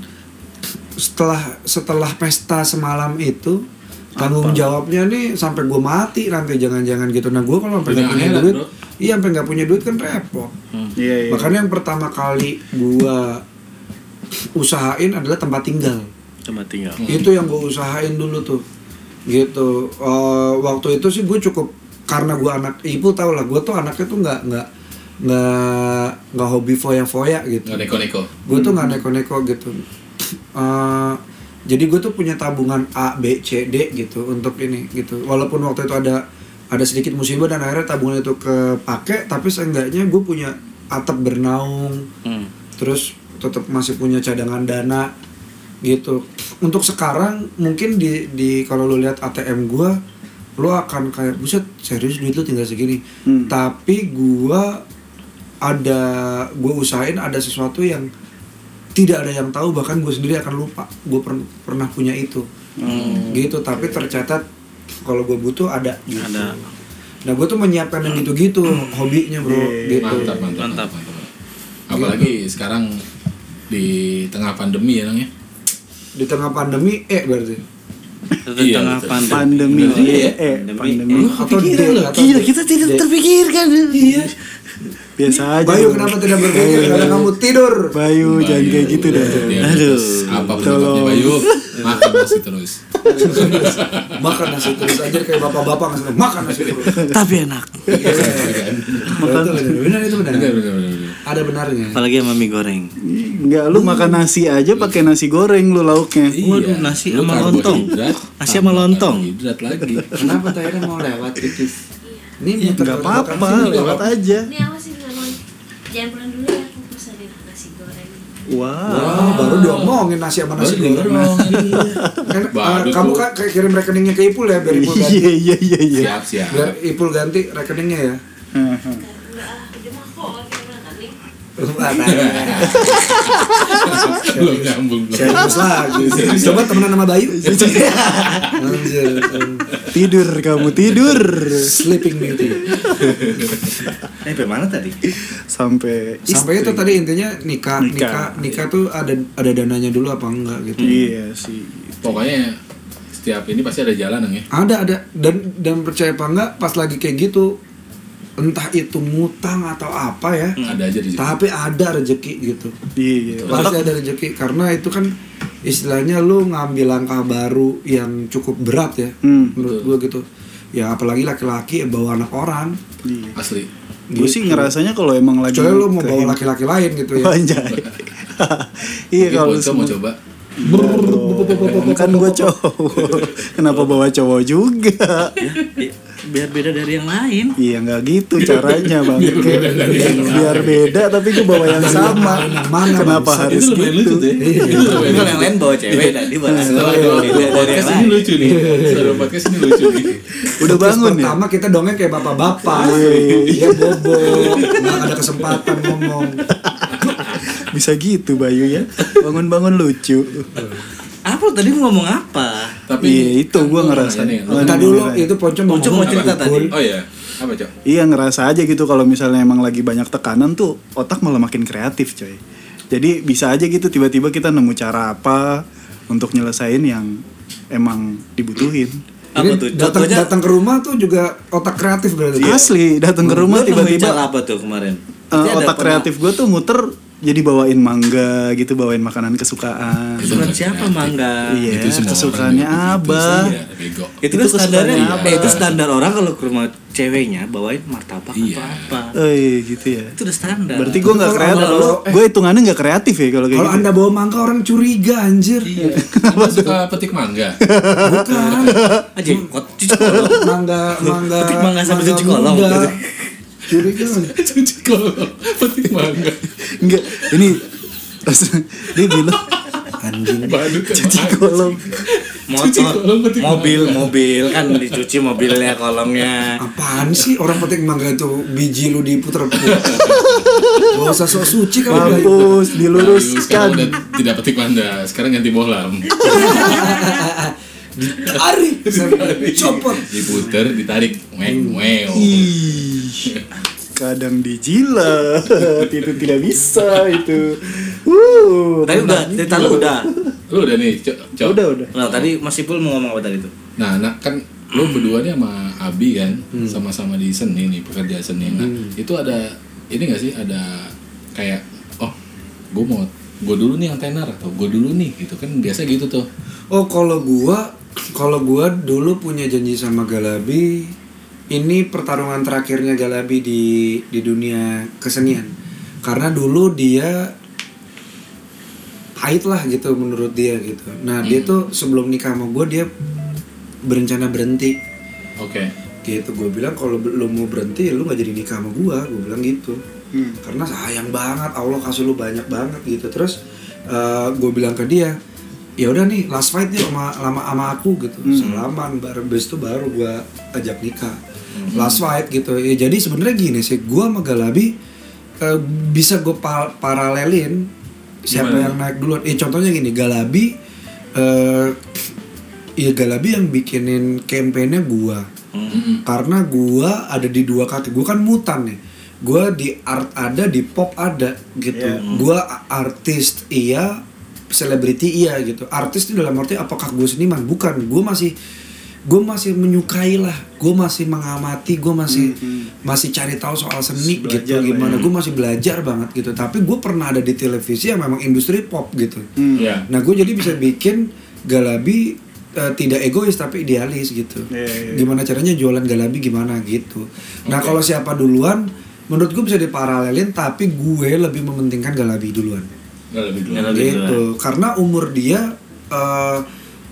setelah setelah pesta semalam itu tanggung jawabnya nih sampai gua mati nanti jangan-jangan gitu. Nah, gua kalau sampai nggak Dunia punya akhirat, duit, bro. Hmm. iya sampai nggak punya duit kan repot. Iya, iya. Makanya yang pertama kali gua usahain adalah tempat tinggal. tempat tinggal. Itu yang gua usahain dulu tuh. Gitu. Eh, waktu itu sih gue cukup karena gua anak ibu tau lah gue tuh anaknya tuh nggak nggak nggak nggak hobi foya-foya gitu. nggak neko-neko Gue tuh nggak neko-neko gitu. Eh, jadi gue tuh punya tabungan A, B, C, D gitu untuk ini gitu. Walaupun waktu itu ada ada sedikit musibah dan akhirnya tabungan itu kepake, tapi seenggaknya gue punya atap bernaung, Hmm. terus tetap masih punya cadangan dana gitu untuk sekarang mungkin di di kalau lu lihat ATM gua lu akan kayak buset serius duit lu tinggal segini Hmm. tapi gua ada gua usahain ada sesuatu yang tidak ada yang tahu bahkan gue sendiri akan lupa gue pernah punya itu Hmm. gitu tapi tercatat kalau gue butuh ada gitu. Ada. nah gue tuh menyiapkan yang gitu-gitu hobinya bro gitu Iya, mantap mantap Iya. Mantap. mantap, mantap. apalagi sekarang di tengah pandemi ya Nang ya. di tengah pandemi eh berarti Iya, tengah betul. pandemi. pandemi Iya, eh pandemi Lu Atau kepikiran D, lu? atau Gila, D. kita tidak D. terpikirkan. Iya. biasa aja Bayu dong. kenapa tidak berpikir karena kamu tidur Bayu Oh, jangan kayak gitu iya, dah Aduh. Aduh. Apa penyebabnya Tolong. Bayu? Makan nasi (laughs) terus. makan nasi terus aja kayak bapak-bapak ngasih tau, makan nasi terus Iya. Tapi enak. Iya. Iya. benar itu benar itu benar Benar benar benar. benar. ada benarnya Apalagi sama mie goreng. Enggak, lu makan nasi aja pakai nasi goreng lu lauknya. Waduh, Iya. nasi Lu sama lontong. karbohidrat, Nasi sama lontong. Karbohidrat lagi. kenapa Taira mau lewat titik ini muter- Enggak apa-apa, lokasi juga lewat aja. Ini apa sih bisa ngomong? Jangan pulang dulu ya, aku pesanin nasi goreng. Wow. Wah, baru diomongin nasi sama nasi Baru goreng. (laughs) Kan, eh, Baru kamu tuh. kan kayak kirim rekeningnya ke Ipul ya biar Ipul ganti. Iya iya iya iya. Siap siap. Biar Ipul ganti rekeningnya ya. Enggak, enggak ah, udah mah kok kita berangkat nih. Wah, nah. Belum nyambung. belum. Serius lagi. Coba temenan sama Bayu. Anjir. Tidur kamu tidur. Sleeping beauty. Eh, bagaimana tadi? Sampai Sampai itu tadi intinya nikah, nikah, Nikah. nikah tuh ada ada dananya dulu apa enggak gitu. Iya sih. Pokoknya setiap ini pasti ada jalan Nang ya. Ada ada dan dan percaya apa enggak pas lagi kayak gitu entah itu ngutang atau apa ya. Ada aja di situ. Tapi ada rezeki gitu. Hmm. Iya. pasti ada rezeki karena itu kan istilahnya lu ngambil langkah baru yang cukup berat ya Hmm. menurut gua gitu ya apalagi laki-laki bawa anak orang iya. Asli. Gue sih ngerasanya kalau emang lagi Gitu. kecuali lu mau bawa kehidupan- laki-laki lain gitu ya Anjay. (laughs) Iya Ini kalau Ponco semua mau coba. kan gue cowok kenapa bawa cowok juga Biar beda dari yang lain. iya nggak gitu caranya bang Biar Iya, beda dari yang lain. biar beda tapi gue bawa yang sama Yang mana, kenapa bangsa? harus gitu? Iya. lumayan lucu tuh. ya. Itu Iya. lumayan Kalau lucu. yang lain bawa cewek dan dia bawa Nah, Setelah dua dua iya, podcast ini lucu nih. Setelah dua podcast ini lucu nih. udah Podcast bangun ya Oh, iya, pertama kita dongeng kayak bapak-bapak ya bobo nggak ada kesempatan ngomong bisa gitu Bayu ya bangun-bangun lucu Apa lu tadi mau ngomong apa? Tapi kan iya itu gua ngerasa Tanya nih, lu tadi dulu itu ponco mau Ponco ngomong mau cerita apa? tadi. Bul. Oh iya. Apa, Cok? iya ngerasa aja gitu kalau misalnya emang lagi banyak tekanan tuh otak malah makin kreatif coy jadi bisa aja gitu tiba-tiba kita nemu cara apa untuk nyelesain yang emang dibutuhin Apa Jadi tuh? datang Contohnya datang ke rumah tuh juga otak kreatif berarti asli datang ke rumah Iya. lu nemuin cara tiba-tiba apa tuh kemarin? Pasti eh, ada otak pernah- kreatif gue tuh muter jadi bawain mangga gitu bawain makanan kesukaan Surat siapa mangga? iya Itu semua kesukaannya orang gitu, itu abah sih, ya, (laughs) bego. Itu, Itu kan standarnya, kesukaannya eh, itu standar orang kalau ke rumah ceweknya bawain martabak Iya. atau apa. oh iya gitu ya Itu udah standar. Berarti gue nggak Kalau kreatif. kalau- gue hitungannya nggak kreatif ya kalau kayak kalau gitu. anda bawa mangga orang curiga anjir Iya. Anda suka petik mangga. (laughs) bukan aja kot cuci kolong. mangga mangga Petik mangga sambil cuci kolong. muda. curiga Cucu kolong. Petik mangga. Nggak, ini (laughs) dia bilang (laughs) anjing Badut kan mangga. kolom (laughs) Cuci Motor, kolong petik mobil, mobil kan dicuci mobilnya kolongnya. apaan sih orang petik mangga tuh biji lu (laughs) diputer-puter gak usah sok suci kamu Bayu. Bayu, mampus sekarang udah diluruskan. tidak petik mangga. Sekarang ganti (laughs) bohlam. (laughs) Ari sampai copot Diputer, ditarik. Weng, weng. Iya. Ih, kadang dijilat (laughs) itu tidak bisa itu. Uh, Tapi udah cerita lu udah. Lu udah nih, Cok. Cok. udah udah. Nah, tadi Mas Ipul mau ngomong apa tadi tuh? Nah, nah kan lu berdua nih sama Abi kan, sama-sama di seni nih, pekerja seni. Nah, itu ada ini gak sih ada kayak oh, gue mau gue dulu nih yang tenar atau gue dulu nih gitu kan biasa gitu tuh. oh kalau gua kalau gua dulu punya janji sama Galabi ini pertarungan terakhirnya Galabi di di dunia kesenian karena dulu dia pahit lah gitu menurut dia gitu nah dia tuh sebelum nikah sama gua dia berencana berhenti Oke. gitu gue bilang kalau lu mau berhenti ya lu nggak jadi nikah sama gue gue bilang gitu Hmm. karena sayang banget Allah kasih lu banyak banget gitu terus gue bilang ke dia ya udah nih last fight nih sama lama sama aku gitu salaman baru habis itu baru gue ajak nikah last fight gitu ya jadi sebenarnya gini sih gue sama Galabi eh, bisa gue paralelin siapa yang naik duluan eh contohnya gini Galabi eh Iya Galabi yang Hmm. bikinin kampanye gua. Karena gua ada di dua kaki. Gua kan mutan nih. gue di art ada di pop ada gitu Iya. gue artis iya selebriti iya gitu artis itu dalam arti apakah gue seniman bukan gue masih gue masih menyukai lah gue masih mengamati gue masih masih cari tahu soal Masih seni gitu belajar lah ya. gimana gue masih belajar banget gitu tapi gue pernah ada di televisi yang memang industri pop gitu Hmm. Iya. Nah gue jadi bisa bikin galabi eh, tidak egois tapi idealis gitu. Iya, iya, iya. Gimana caranya jualan galabi gimana gitu. Nah kalau siapa duluan, menurut gue bisa diparalelin tapi gue lebih mementingkan galabi duluan. Nggak lebih dulu. Nggak lebih. Gitu. Karena umur dia eh,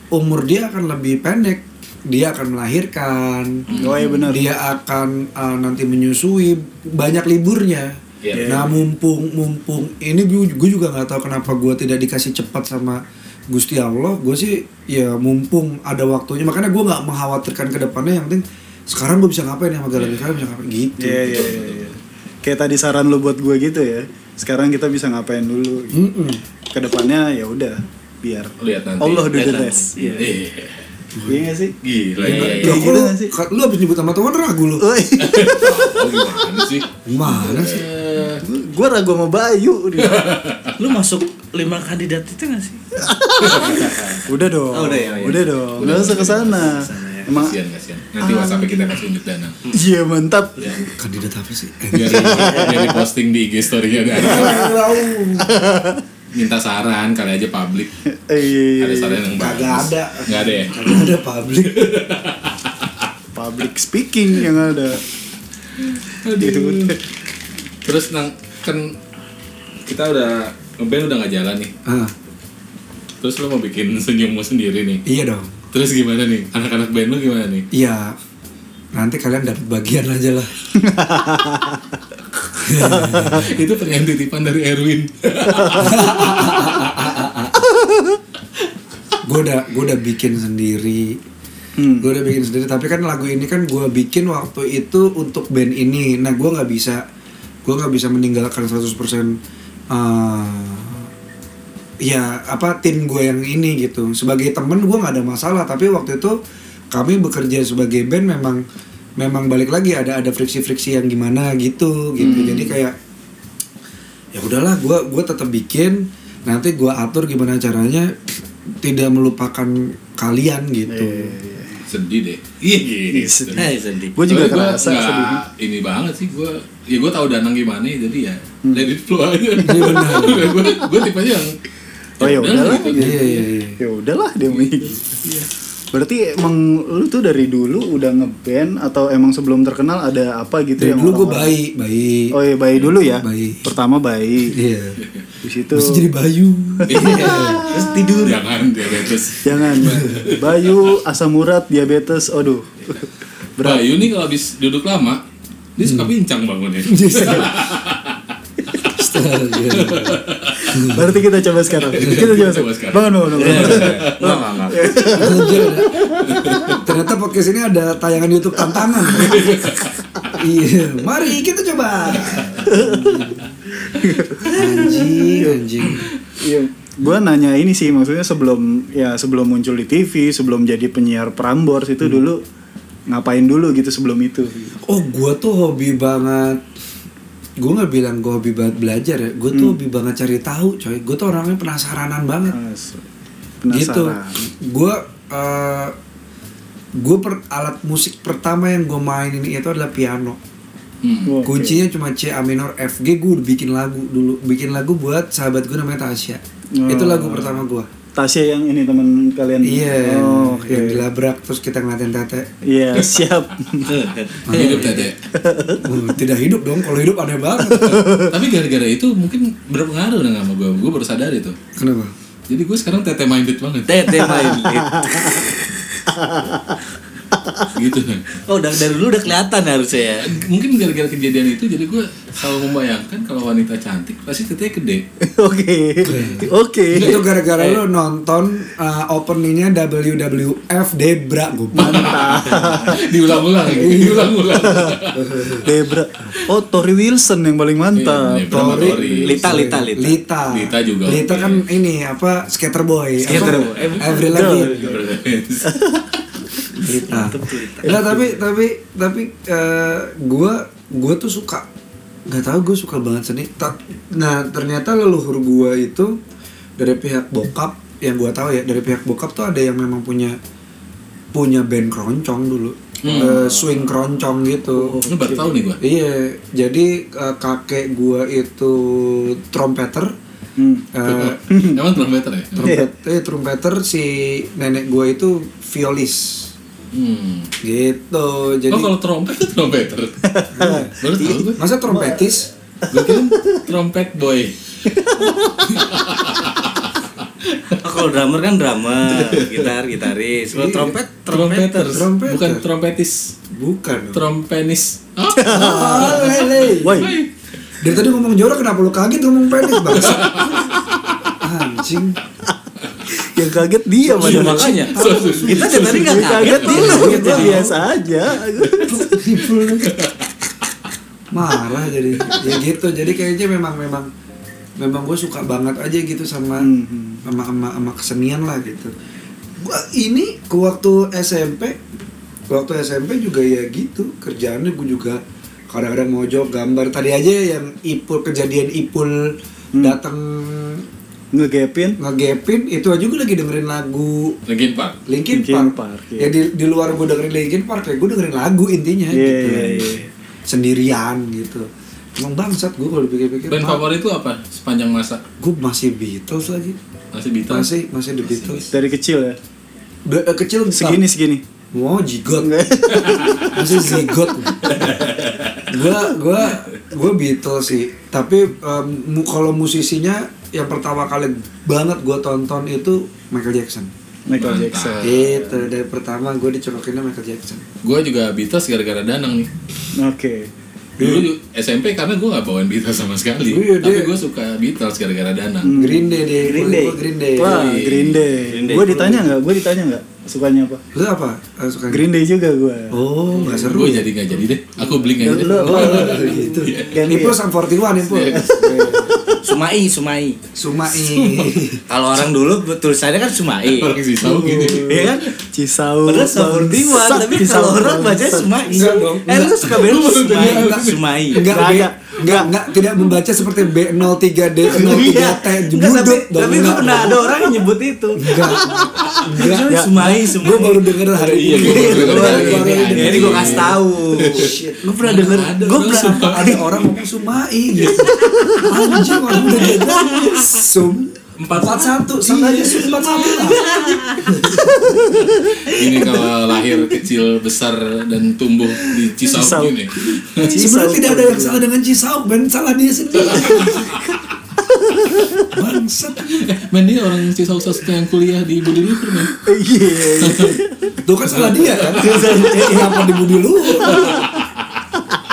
umur dia akan lebih pendek, dia akan melahirkan, Oh iya benar. dia akan uh, nanti menyusui banyak liburnya. Iya. Nah mumpung mumpung ini gue juga nggak tahu kenapa gue tidak dikasih cepat sama Gusti Allah. Gue sih ya mumpung ada waktunya makanya gue nggak mengkhawatirkan ke depannya yang penting sekarang gue bisa ngapain ya sama Galang sekarang bisa ngapain gitu. Iya iya iya. iya. Kayak tadi saran lu buat gue gitu ya. Sekarang kita bisa ngapain dulu? Gitu. Mm-mm. Kedepannya ya udah biar Lihat nanti. Allah do Lihat the nanti. rest. Iya. Iya. Iya nggak sih? Gila. Iya. Loh, iya. kok gitu lu, nggak sih? ka- lu habis nyebut sama Tuhan ragu lu. Oi, Oh, gimana sih? Mana sih? Eh, gue ragu sama Bayu. Lu masuk lima kandidat itu gak sih? Udah dong. Oh, udah ya, ya. Udah dong. Udah usah kesana. ya. Emang Kasian, kasian. Nanti WhatsApp kita kasih unjuk dana. iya mantap. Kandidat apa sih? Biar di- biar di posting di IG story-nya ada. Minta saran kali aja publik. Eh, Iya iya, Ada iya. saran yang bagus. Kagak ada. Nggak ada ya. Kagak ada publik. Public speaking yang ada. Aduh. Terus nang kan kita udah ngeband udah nggak jalan nih. Ah, Terus lo mau bikin (laughs) senyummu sendiri nih. iya dong. Terus gimana nih? Anak-anak band lo gimana nih? Iya, nanti kalian dapat bagian aja lah. Itu pengen titipan dari Erwin. gue udah gue udah bikin sendiri Hmm. gue udah bikin sendiri tapi kan lagu ini kan gue bikin waktu itu untuk band ini nah gue nggak bisa gue nggak bisa meninggalkan 100% eh, ya apa tim gue yang ini gitu sebagai temen gue nggak ada masalah tapi waktu itu kami bekerja sebagai band memang memang balik lagi ada ada friksi-friksi yang gimana gitu gitu jadi kayak ya udahlah gue gue tetap bikin nanti gue atur gimana caranya tidak melupakan kalian gitu Sedih deh. Iya gitu. Eh, sedih. (laughs) Gue juga Soalnya kerasa nggak sedih. Ini banget sih gue. Ya gue tahu Danang gimana jadi ya. Let it flow aja. benar. (laughs) gue gue tipenya yang Oh ya udahlah. gitu. iya iya iya Ya udahlah dia mau gitu. Berarti emang lu tuh dari dulu udah ngeband atau emang sebelum terkenal ada apa gitu Dari yang dulu gue orang-orang- baik baik Oh iya bayi dulu ya. Bayi. Pertama bayi. iya Di situ terus jadi Bayu (laughs) Terus tidur. gitu." Iya. Jangan diabetes. jangan Bayu asam urat diabetes. Aduh. Berat. Bayu nih kalau habis duduk lama dia Hmm. suka pincang (laughs) bangunnya. Iya. Astaga. Berarti kita coba sekarang. Kita coba Coba sekarang. sekarang. Bangun Iya. bangun bangun. Enggak, enggak, enggak. Anjir, ada- ternyata podcast ini ada tayangan YouTube (laughs) tantangan iya mari kita coba anjing anjing Iya. Gue nanya ini sih maksudnya sebelum ya sebelum muncul di TV, sebelum jadi penyiar Prambors itu dulu ngapain dulu gitu sebelum itu. Oh, gue tuh hobi banget. Gue nggak bilang gue hobi banget belajar ya. Gue tuh hobi banget cari tahu, coy. Gue tuh orangnya penasaranan banget. As- Penasaran. Gitu. Gue eh gue per, alat musik pertama yang gue mainin itu adalah piano. Hmm. Oke. Kuncinya cuma C A minor F G. Gue bikin lagu dulu, bikin lagu buat sahabat gue namanya Tasya. Oh. Itu lagu pertama gue. Tasya yang ini teman kalian. Iya, Oh, oke. yang dilabrak terus kita ngeliatin tete. Iya, siap. (laughs) Hidup tete. Hmm, tidak hidup dong, kalau hidup aneh banget. Tapi gara-gara itu mungkin berpengaruh dengan sama gue. Gue baru sadar itu. Kenapa? Jadi gue sekarang tete minded banget. Tete main lead. gitu. Nang. Oh, dari, dari dulu udah kelihatan harusnya ya. Mungkin gara-gara kejadian itu jadi gue selalu membayangkan kalau wanita cantik pasti tetenya gede. (laughs) Oke. Oke. Itu gara-gara lu nonton uh, openingnya WWF Debra gue (laughs) diulang-ulang, Iya. (laughs) diulang-ulang. Debra. Oh, Tori Wilson yang paling mantap. Iya, Debra sama Tori. Lita, Lita, Lita. Lita. Lita juga Lita oke. kan ini apa skater boy. Skater Apa? boy. Every lagi. Lita. Mantep tuh Lita. Nah, tapi tapi tapi eh, gua gua tuh suka nggak tahu gue suka banget seni Ta- nah ternyata leluhur gue itu dari pihak bokap yang gue tahu ya dari pihak bokap tuh ada yang memang punya punya band keroncong dulu Eh, swing keroncong gitu Ini baru tahu nih gua. Iya, jadi eh, kakek gua itu trompeter, Hmm. eh, Emang trompeter ya? trompet, eh, trompeter si nenek gua itu violis, Hmm. gitu. Jadi oh kalau trompet itu (laughs) trompeter. Baru tahu gue. masa trompetis? Gue kira trompet boy. Oh, kalau drummer kan drummer, gitar gitaris. Iya. Kalau trompet trompeter. Trompeters. Trompeter. Bukan trompetis. Bukan. dong. Trompenis. Oh, Ah, lele. Woi, Dari tadi ngomong jorok kenapa lu kaget ngomong penis bang? Anjing. yang kaget Iya, dia padahal. makanya. Iya. Kita dari tadi nggak kaget, dia kaget dia biasa aja. marah jadi ya gitu jadi kayaknya memang memang memang gue suka banget aja gitu sama Mhm. sama, sama sama kesenian lah gitu gua ini ke waktu SMP ke waktu SMP juga ya gitu kerjaannya gue juga kadang-kadang mau jawab gambar tadi aja yang ipul kejadian ipul datang Ngegepin. ngegepin itu aja gue lagi dengerin lagu Linkin Park. Linkin Linkin Park, Park, ya iya. di, di luar gue dengerin Linkin Park ya gue dengerin lagu Iya, intinya gitu iya, iya. sendirian gitu emang bangsat gue kalau dipikir-pikir Band favorit itu apa sepanjang masa? gue masih Beatles lagi Masih Beatles. masih masih The Beatles Dari kecil ya. Be- eh, kecil Segini segini. wow jigot (laughs) masih zigot gue gue gue Beatles sih tapi em, mu- kalau musisinya yang pertama kali banget gue tonton itu Michael Jackson Michael Mantap. ah. Jackson. itu dari pertama gue dicolokinnya Michael Jackson Gue juga Beatles gara-gara Danang nih. Oke. Dulu ju- SMP karena gue gak bawain Beatles sama sekali. Iya, Tapi dia- Hmm, gue suka Beatles gara-gara Danang. Green Day deh, Green Gua- Day. gua Green Day. Wah, Wih. Green Day. Green Day. Gue ditanya nggak? Gue ditanya nggak? Sukanya apa? Lu apa? Eh, suka Green Day juga gue. Oh, nggak seru. Gue jadi gak jadi deh. Aku beli gak jadi. Lo, lo, gitu. Ganti Info ya? Sam 41 info. Iya. Sumai, Sumai. Sumai. Kalau orang dulu tulisannya kan Sumai. Orang sih tahu gini. Iya kan? Cisau. Padahal Saburdiwan, bangsat, tapi Cisau kalau orang baca bangsat. Sumai. Enggak dong, Eh, lu suka band Sumai, Enggak. Sumai. Enggak Nggak ada. ada. Enggak, enggak tidak membaca seperti B03D 03T Enggak, tapi, jebudut. tapi gue pernah ada orang yang nyebut itu. Enggak. Enggak. Enggak, Sumai, Sumai. Gue baru denger hari Iya, ini. gua baru denger Baru- hari ini. baru Iya, denger. Jadi gue kasih tahu. Gue pernah denger, Ada gue orang pernah Sumai. Ada orang ngomong Sumai gitu. Anjing orang udah beda. Sum Empat- 41 sama aja Sum 41 lah. Ini kalau lahir kecil besar dan tumbuh di Cisau. Cisauk gini. (laughs) Sebenarnya Cisau tidak ada Saburdiwan. yang salah dengan Cisau, Ben salah dia (laughs) sendiri. Bangsat. Men dia orang Cisauk salah satu yang kuliah di Budi Luhur men. (laughs) Iya. Itu kan salah dia kan. Eh, Kenapa dibudi lu?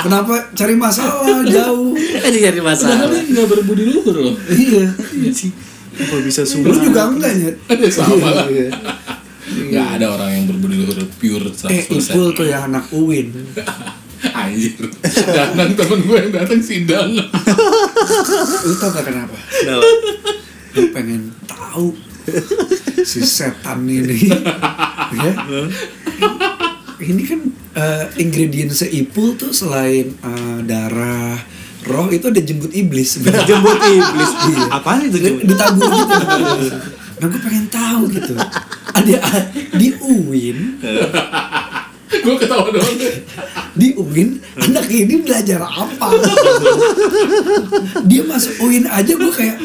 Kenapa cari masalah jauh? Jadi cari Padahal masalah. dia nggak berbudi luhur loh. (laughs) Iya. Apa bisa Lu Sumai? juga enggak ya? Ada sama lah. Iya. Nggak ada orang yang berbudi luhur pure Eh, 100%. Ipul tuh ya anak Uwin. Anjir. Danang temen gue yang datang sidang. Lu tau gak kenapa? Kenapa? Lu pengen tahu si setan ini. ya? Ini kan eh, ingredient seipul tuh selain eh, darah, roh itu ada jembut iblis. sebenarnya. Jembut (laughs) iblis. Iya. Apaan itu Di- jembut? ditabur gitu. Nah gue pengen tahu gitu. Ada di UIN, gue ketawa doang. di UIN anak ini belajar apa? Dia masuk UIN aja gue kayak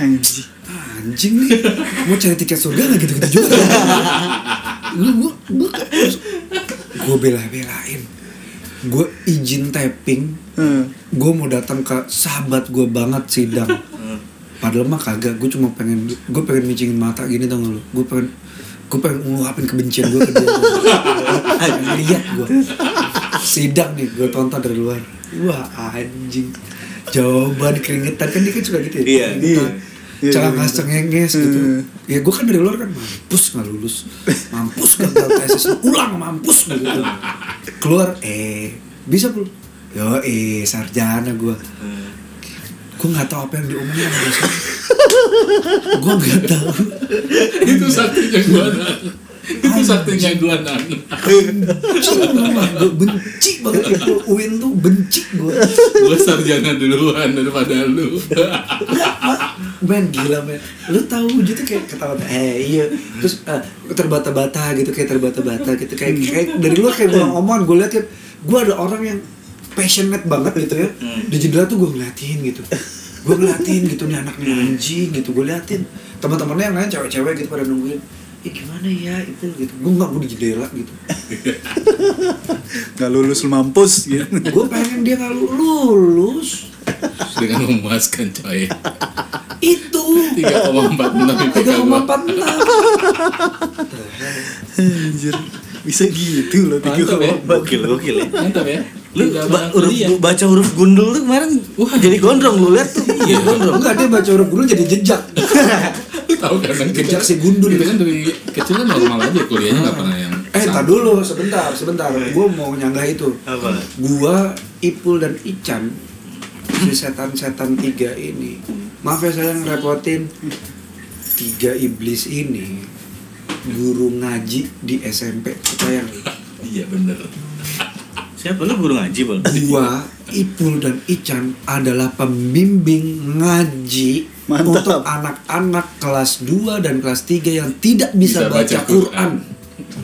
Anjing. anjing nih mau cari tiket surga nggak gitu-gitu juga lu gua gua gua bela-belain gua izin tapping Hmm. gua mau datang ke sahabat gua banget sidang padahal mah kagak gua cuma pengen gua pengen micingin mata gini tau gak lu gua pengen gua pengen ngeluapin kebencian gua ke dia lihat gua sidang nih gua tonton dari luar wah anjing jawaban keringetan kan dia kan suka gitu Iya, iya. Keringetan Iya, celana iya, iya. cengenges gitu Hmm. ya gue kan dari luar kan mampus nggak lulus mampus gagal tesis ulang mampus gitu keluar eh bisa belum yo eh sarjana gue gue nggak tahu apa yang diomongin gue nggak tahu Itu sakitnya gue. itu satunya dua nan gue benci banget itu Uin tuh benci gue gue sarjana duluan daripada lu (laughs) men gila men lu tahu wujud tuh kayak ketawa eh iya terus eh, terbata-bata gitu kayak terbata-bata gitu kayak, kayak dari lu kayak buang omongan gue liat kan gue ada orang yang passionate banget gitu ya di jendela tuh gue ngeliatin gitu gue ngeliatin gitu nih anak nih anjing gitu gue liatin teman-temannya yang lain cewek-cewek gitu pada nungguin Ih gimana ya itu gitu gue nggak gue di jendela gitu nggak lulus lu mampus gitu gue pengen dia nggak lulus dengan memuaskan coy itu 3,46 IPK tiga kan, gua. koma empat enam anjir bisa gitu loh tiga Mantap ya. Gokil, gokil ya. mantap ya Lu Tiga iya. ba- orang huruf- kuliah. bu- baca huruf gundul tuh kemarin wah jadi gondrong lu lihat tuh. Iya, gondrong. enggak dia baca huruf dulu jadi jejak Lu tahu kan kan Jejak si gundul. kita kan dari kecil kan normal aja kuliahnya nggak pernah yang eh sama. tak dulu sebentar sebentar gue mau nyanggah itu Apa? gua Ipul dan Ican si setan-setan tiga ini maaf ya saya ngerepotin tiga iblis ini guru ngaji di SMP percaya nggak? iya bener Siapa lu guru ngaji, Bang? gua Ipul dan Ican adalah pembimbing ngaji Mantap. untuk anak-anak kelas 2 dan kelas 3 yang tidak bisa, Bisa baca, baca Quran.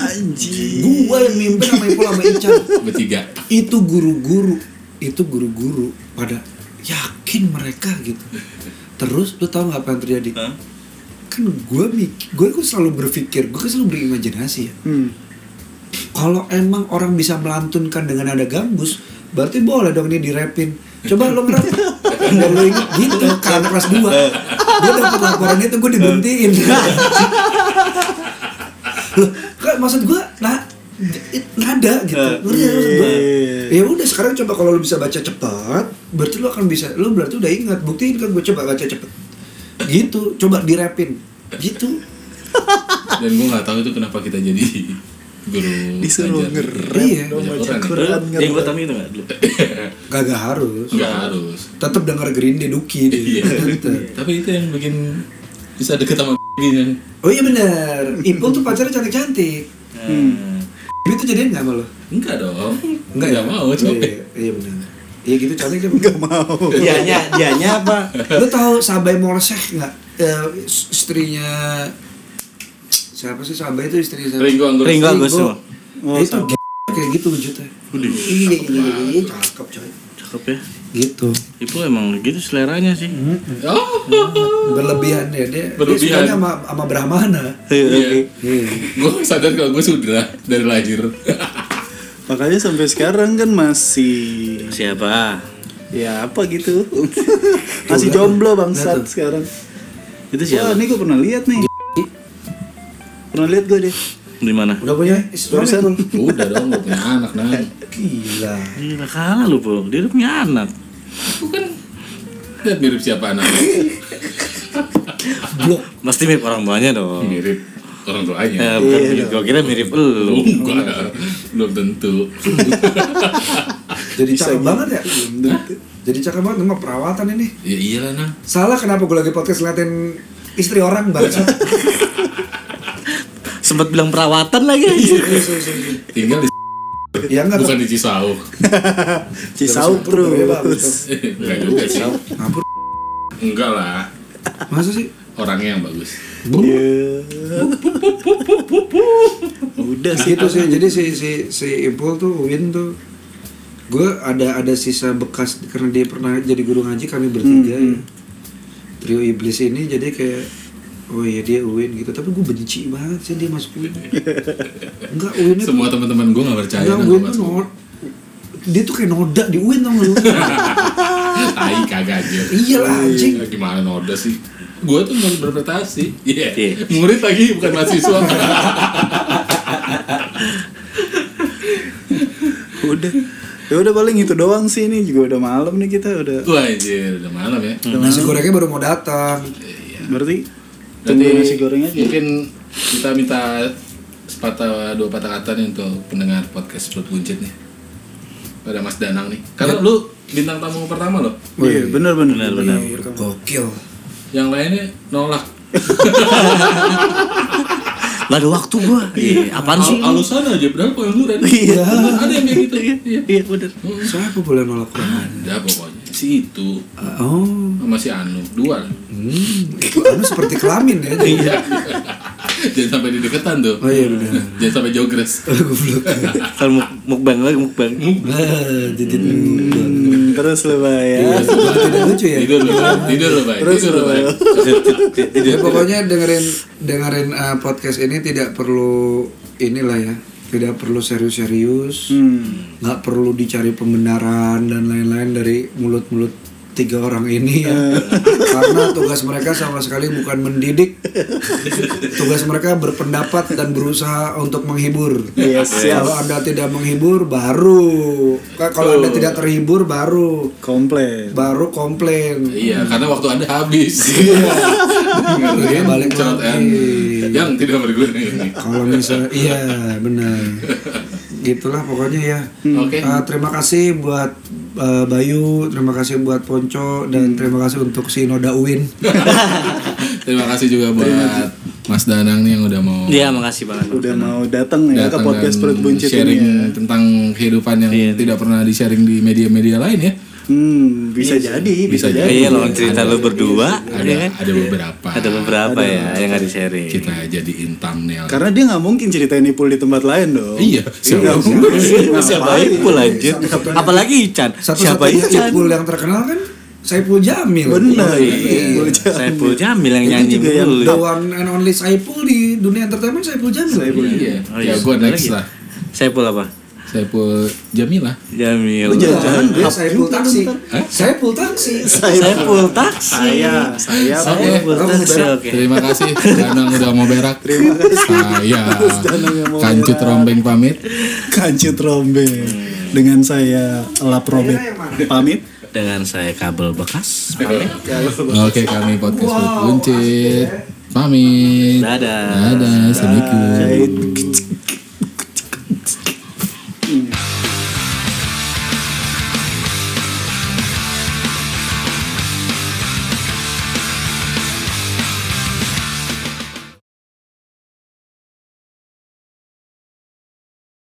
anjir Gua yang mimpin sama Ipul sama Ican. bertiga Itu guru-guru, itu guru-guru pada yakin mereka gitu. Terus lu tahu nggak apa yang terjadi? Hah? Kan gua mik- gua kan selalu berpikir, gua kan selalu berimajinasi ya hmm. kalau emang orang bisa melantunkan dengan ada gambus berarti boleh dong ini direpin coba lo ngerap biar lo inget gitu ke anak kelas 2 dia dapet laporan itu gue dibentiin loh kan maksud gue nah it- nada gitu Ngerti nggak maksud gua? ya udah sekarang coba kalau lo bisa baca cepat berarti lo akan bisa lo berarti udah ingat buktiin kan gue coba baca cepet gitu coba direpin gitu dan gue nggak tahu itu kenapa kita jadi guru disuruh ngajar. ngerem Iya. dong baca Baca Quran Lu ngerem yang gua tamu itu enggak dulu. kagak harus nggak harus tetap denger Green Day Duki dia. Iya. Tetep. tapi itu yang bikin bisa deket sama gini ya. oh iya bener Ipul tuh pacarnya cantik-cantik Nah, Hmm. Bibi tuh jadian gak sama lo? enggak dong enggak ya? mau capek Iya, iya bener Iya gitu cantik dia (laughs) nggak mau Dianya, dianya apa? Lo tau Sabai Morseh gak? Eh, istrinya Siapa sih Sabai itu istrinya siapa? Ringgo Anggur Ringgo Anggoso. Oh, Nah, itu g- kayak gitu wujudnya Iya iya iya iya cakep coy Cakep ya. Gitu Itu emang gitu seleranya sih. oh Berlebihan ya dia Dia Berlebihan. sukanya sama, sama Brahmana Iya, Iya. oke. Iya gue sadar kalau gue sudra dari lahir makanya sampai sekarang kan masih Siapa? ya apa (laughs) gitu masih jomblo bangsat Lihat tuh. sekarang Itu wah siapa? ini gue pernah lihat nih pernah lihat gue deh Di mana? Udah punya suami Barusan. Ipul? udah dong gue punya anak nah Gila Gila kalah lu, Bro. Dia udah punya anak. lihat mirip siapa anak Blok Pasti mirip orang tuanya dong. mirip orang tuanya Eh, bukan mirip. Gua kira mirip lu. enggak belum tentu Jadi cakep banget ya? Jadi cakep banget nggak perawatan ini. ya iyalah nah Salah kenapa gue lagi podcast ngeliatin istri orang bangsa. Sempat bilang perawatan lagi. tinggal di (laughs) ya enggak bukan di (laughs) Cisauk Cisauk terus enggak juga sih Ngapur. enggak lah Masa sih? orangnya yang bagus (laughs) Iya. udah Iya sih Gitu sih. Jadi si si si Ipul tuh Win tuh gue ada ada sisa bekas karena dia pernah jadi guru ngaji kami bertiga ya. Trio iblis ini jadi kayak oh iya dia Uwin gitu tapi gue benci banget sih dia masuk (laughs) Uwin enggak Uwin itu semua teman-teman gue nggak percaya enggak nah, Uwin Mas. tuh no- (laughs) dia tuh kayak noda di Uwin tau nggak lu tai kagak aja Iya lah, anjing. Iya, gimana noda sih gue tuh mau berprestasi iya Iya. murid lagi bukan mahasiswa udah ya udah paling itu doang sih ini juga udah malam nih kita udah wah anjir udah malam ya Hmm. Hmm. nasi gorengnya baru mau datang berarti Nanti tunggu nasi goreng aja ya? mungkin kita minta sepatah dua patah kata nih untuk pendengar podcast Perut Buncit nih pada Mas Danang nih karena lu bintang tamu pertama loh iya benar benar Benar, benar. gokil yang lainnya nolak Gak ada waktu gua. Iya, apaan sih? Al- alasan aja berapa yang murah Iya. ada yang kayak gitu iya Iya, bener. Soalnya aku boleh nolak orang. ada pokoknya si itu Oh, sama si Anu dua lah kamu seperti kelamin ya. Iya. Iya. (laughs) jangan sampai di deketan tuh Oh iya benar. jangan sampai (laughs) jogres Goblok. Kalau muk- mukbang lagi mukbang. Ah, Jadi Hmm, terus lu bay Iya. ya. tidak lucu ya. tidur lu Bay. tidur lu bay Terus tidur lu bay Ya, pokoknya dengerin dengerin uh, podcast ini tidak perlu inilah ya. Tidak perlu serius-serius. Hmm. nggak perlu dicari pembenaran dan lain-lain dari mulut-mulut tiga orang ini ya karena tugas mereka sama sekali bukan mendidik tugas mereka berpendapat dan berusaha untuk menghibur Yes, yes. kalau anda tidak menghibur baru kalau anda tidak terhibur baru Komplain. baru komplain Iya, karena waktu Anda habis. Iya, Dengerin balik celotehan lagi. yang tidak berguna ini. kalau misalnya iya benar gitulah pokoknya ya Oke. Eh, terima kasih buat eh, Bayu terima kasih buat Ponco dan terima kasih untuk si Noda Uin Terima kasih juga buat Iya. Mas Danang nih yang udah mau Iya, makasih banget. Udah mau datang ya ke datang podcast dan perut buncit sharing ini. Ya. tentang kehidupan yang Iya. tidak pernah di-sharing di media-media lain ya. Hmm, bisa jadi, bisa, Bisa jadi. Iya, lawan cerita lu berdua, Ada ya kan? ada beberapa. Ada beberapa ya yang nggak di sharing. Kita jadiin thumbnail. Karena dia nggak mungkin ceritain Ipul di tempat lain dong. Iya, Nggak siapa? mungkin. (laughs) Siapa Ipul anjir? Apalagi Ican. Siapa ya? satu-satunya Ican? Ipul yang terkenal kan Saipul Jamil Benar. Iya, Iya. Saiful Jamil yang nyanyi juga yang The dulu. one and only Saipul di dunia entertainment Saipul Jamil Iya. Oh, iya. Ya gue next Lagi. lah. Saiful apa? Saya pun Jamila. Jamil. jangan-jangan Dia Iya, Saipul Taksi Saipul Taksi Saiful taksi. Saya, saya apa? Oke. Saiful taksi. Oke. Terima kasih Danang udah mau berak. Terima kasih. Saya Danang yang mau Kancut berak. Rombeng pamit. Kancut Rombe dengan saya Lap Robert pamit. Dengan saya kabel bekas. Oke, kami podcast Perut buncit. Pamit. Dadah. ya. Dadah. Assalamualaikum. Bye.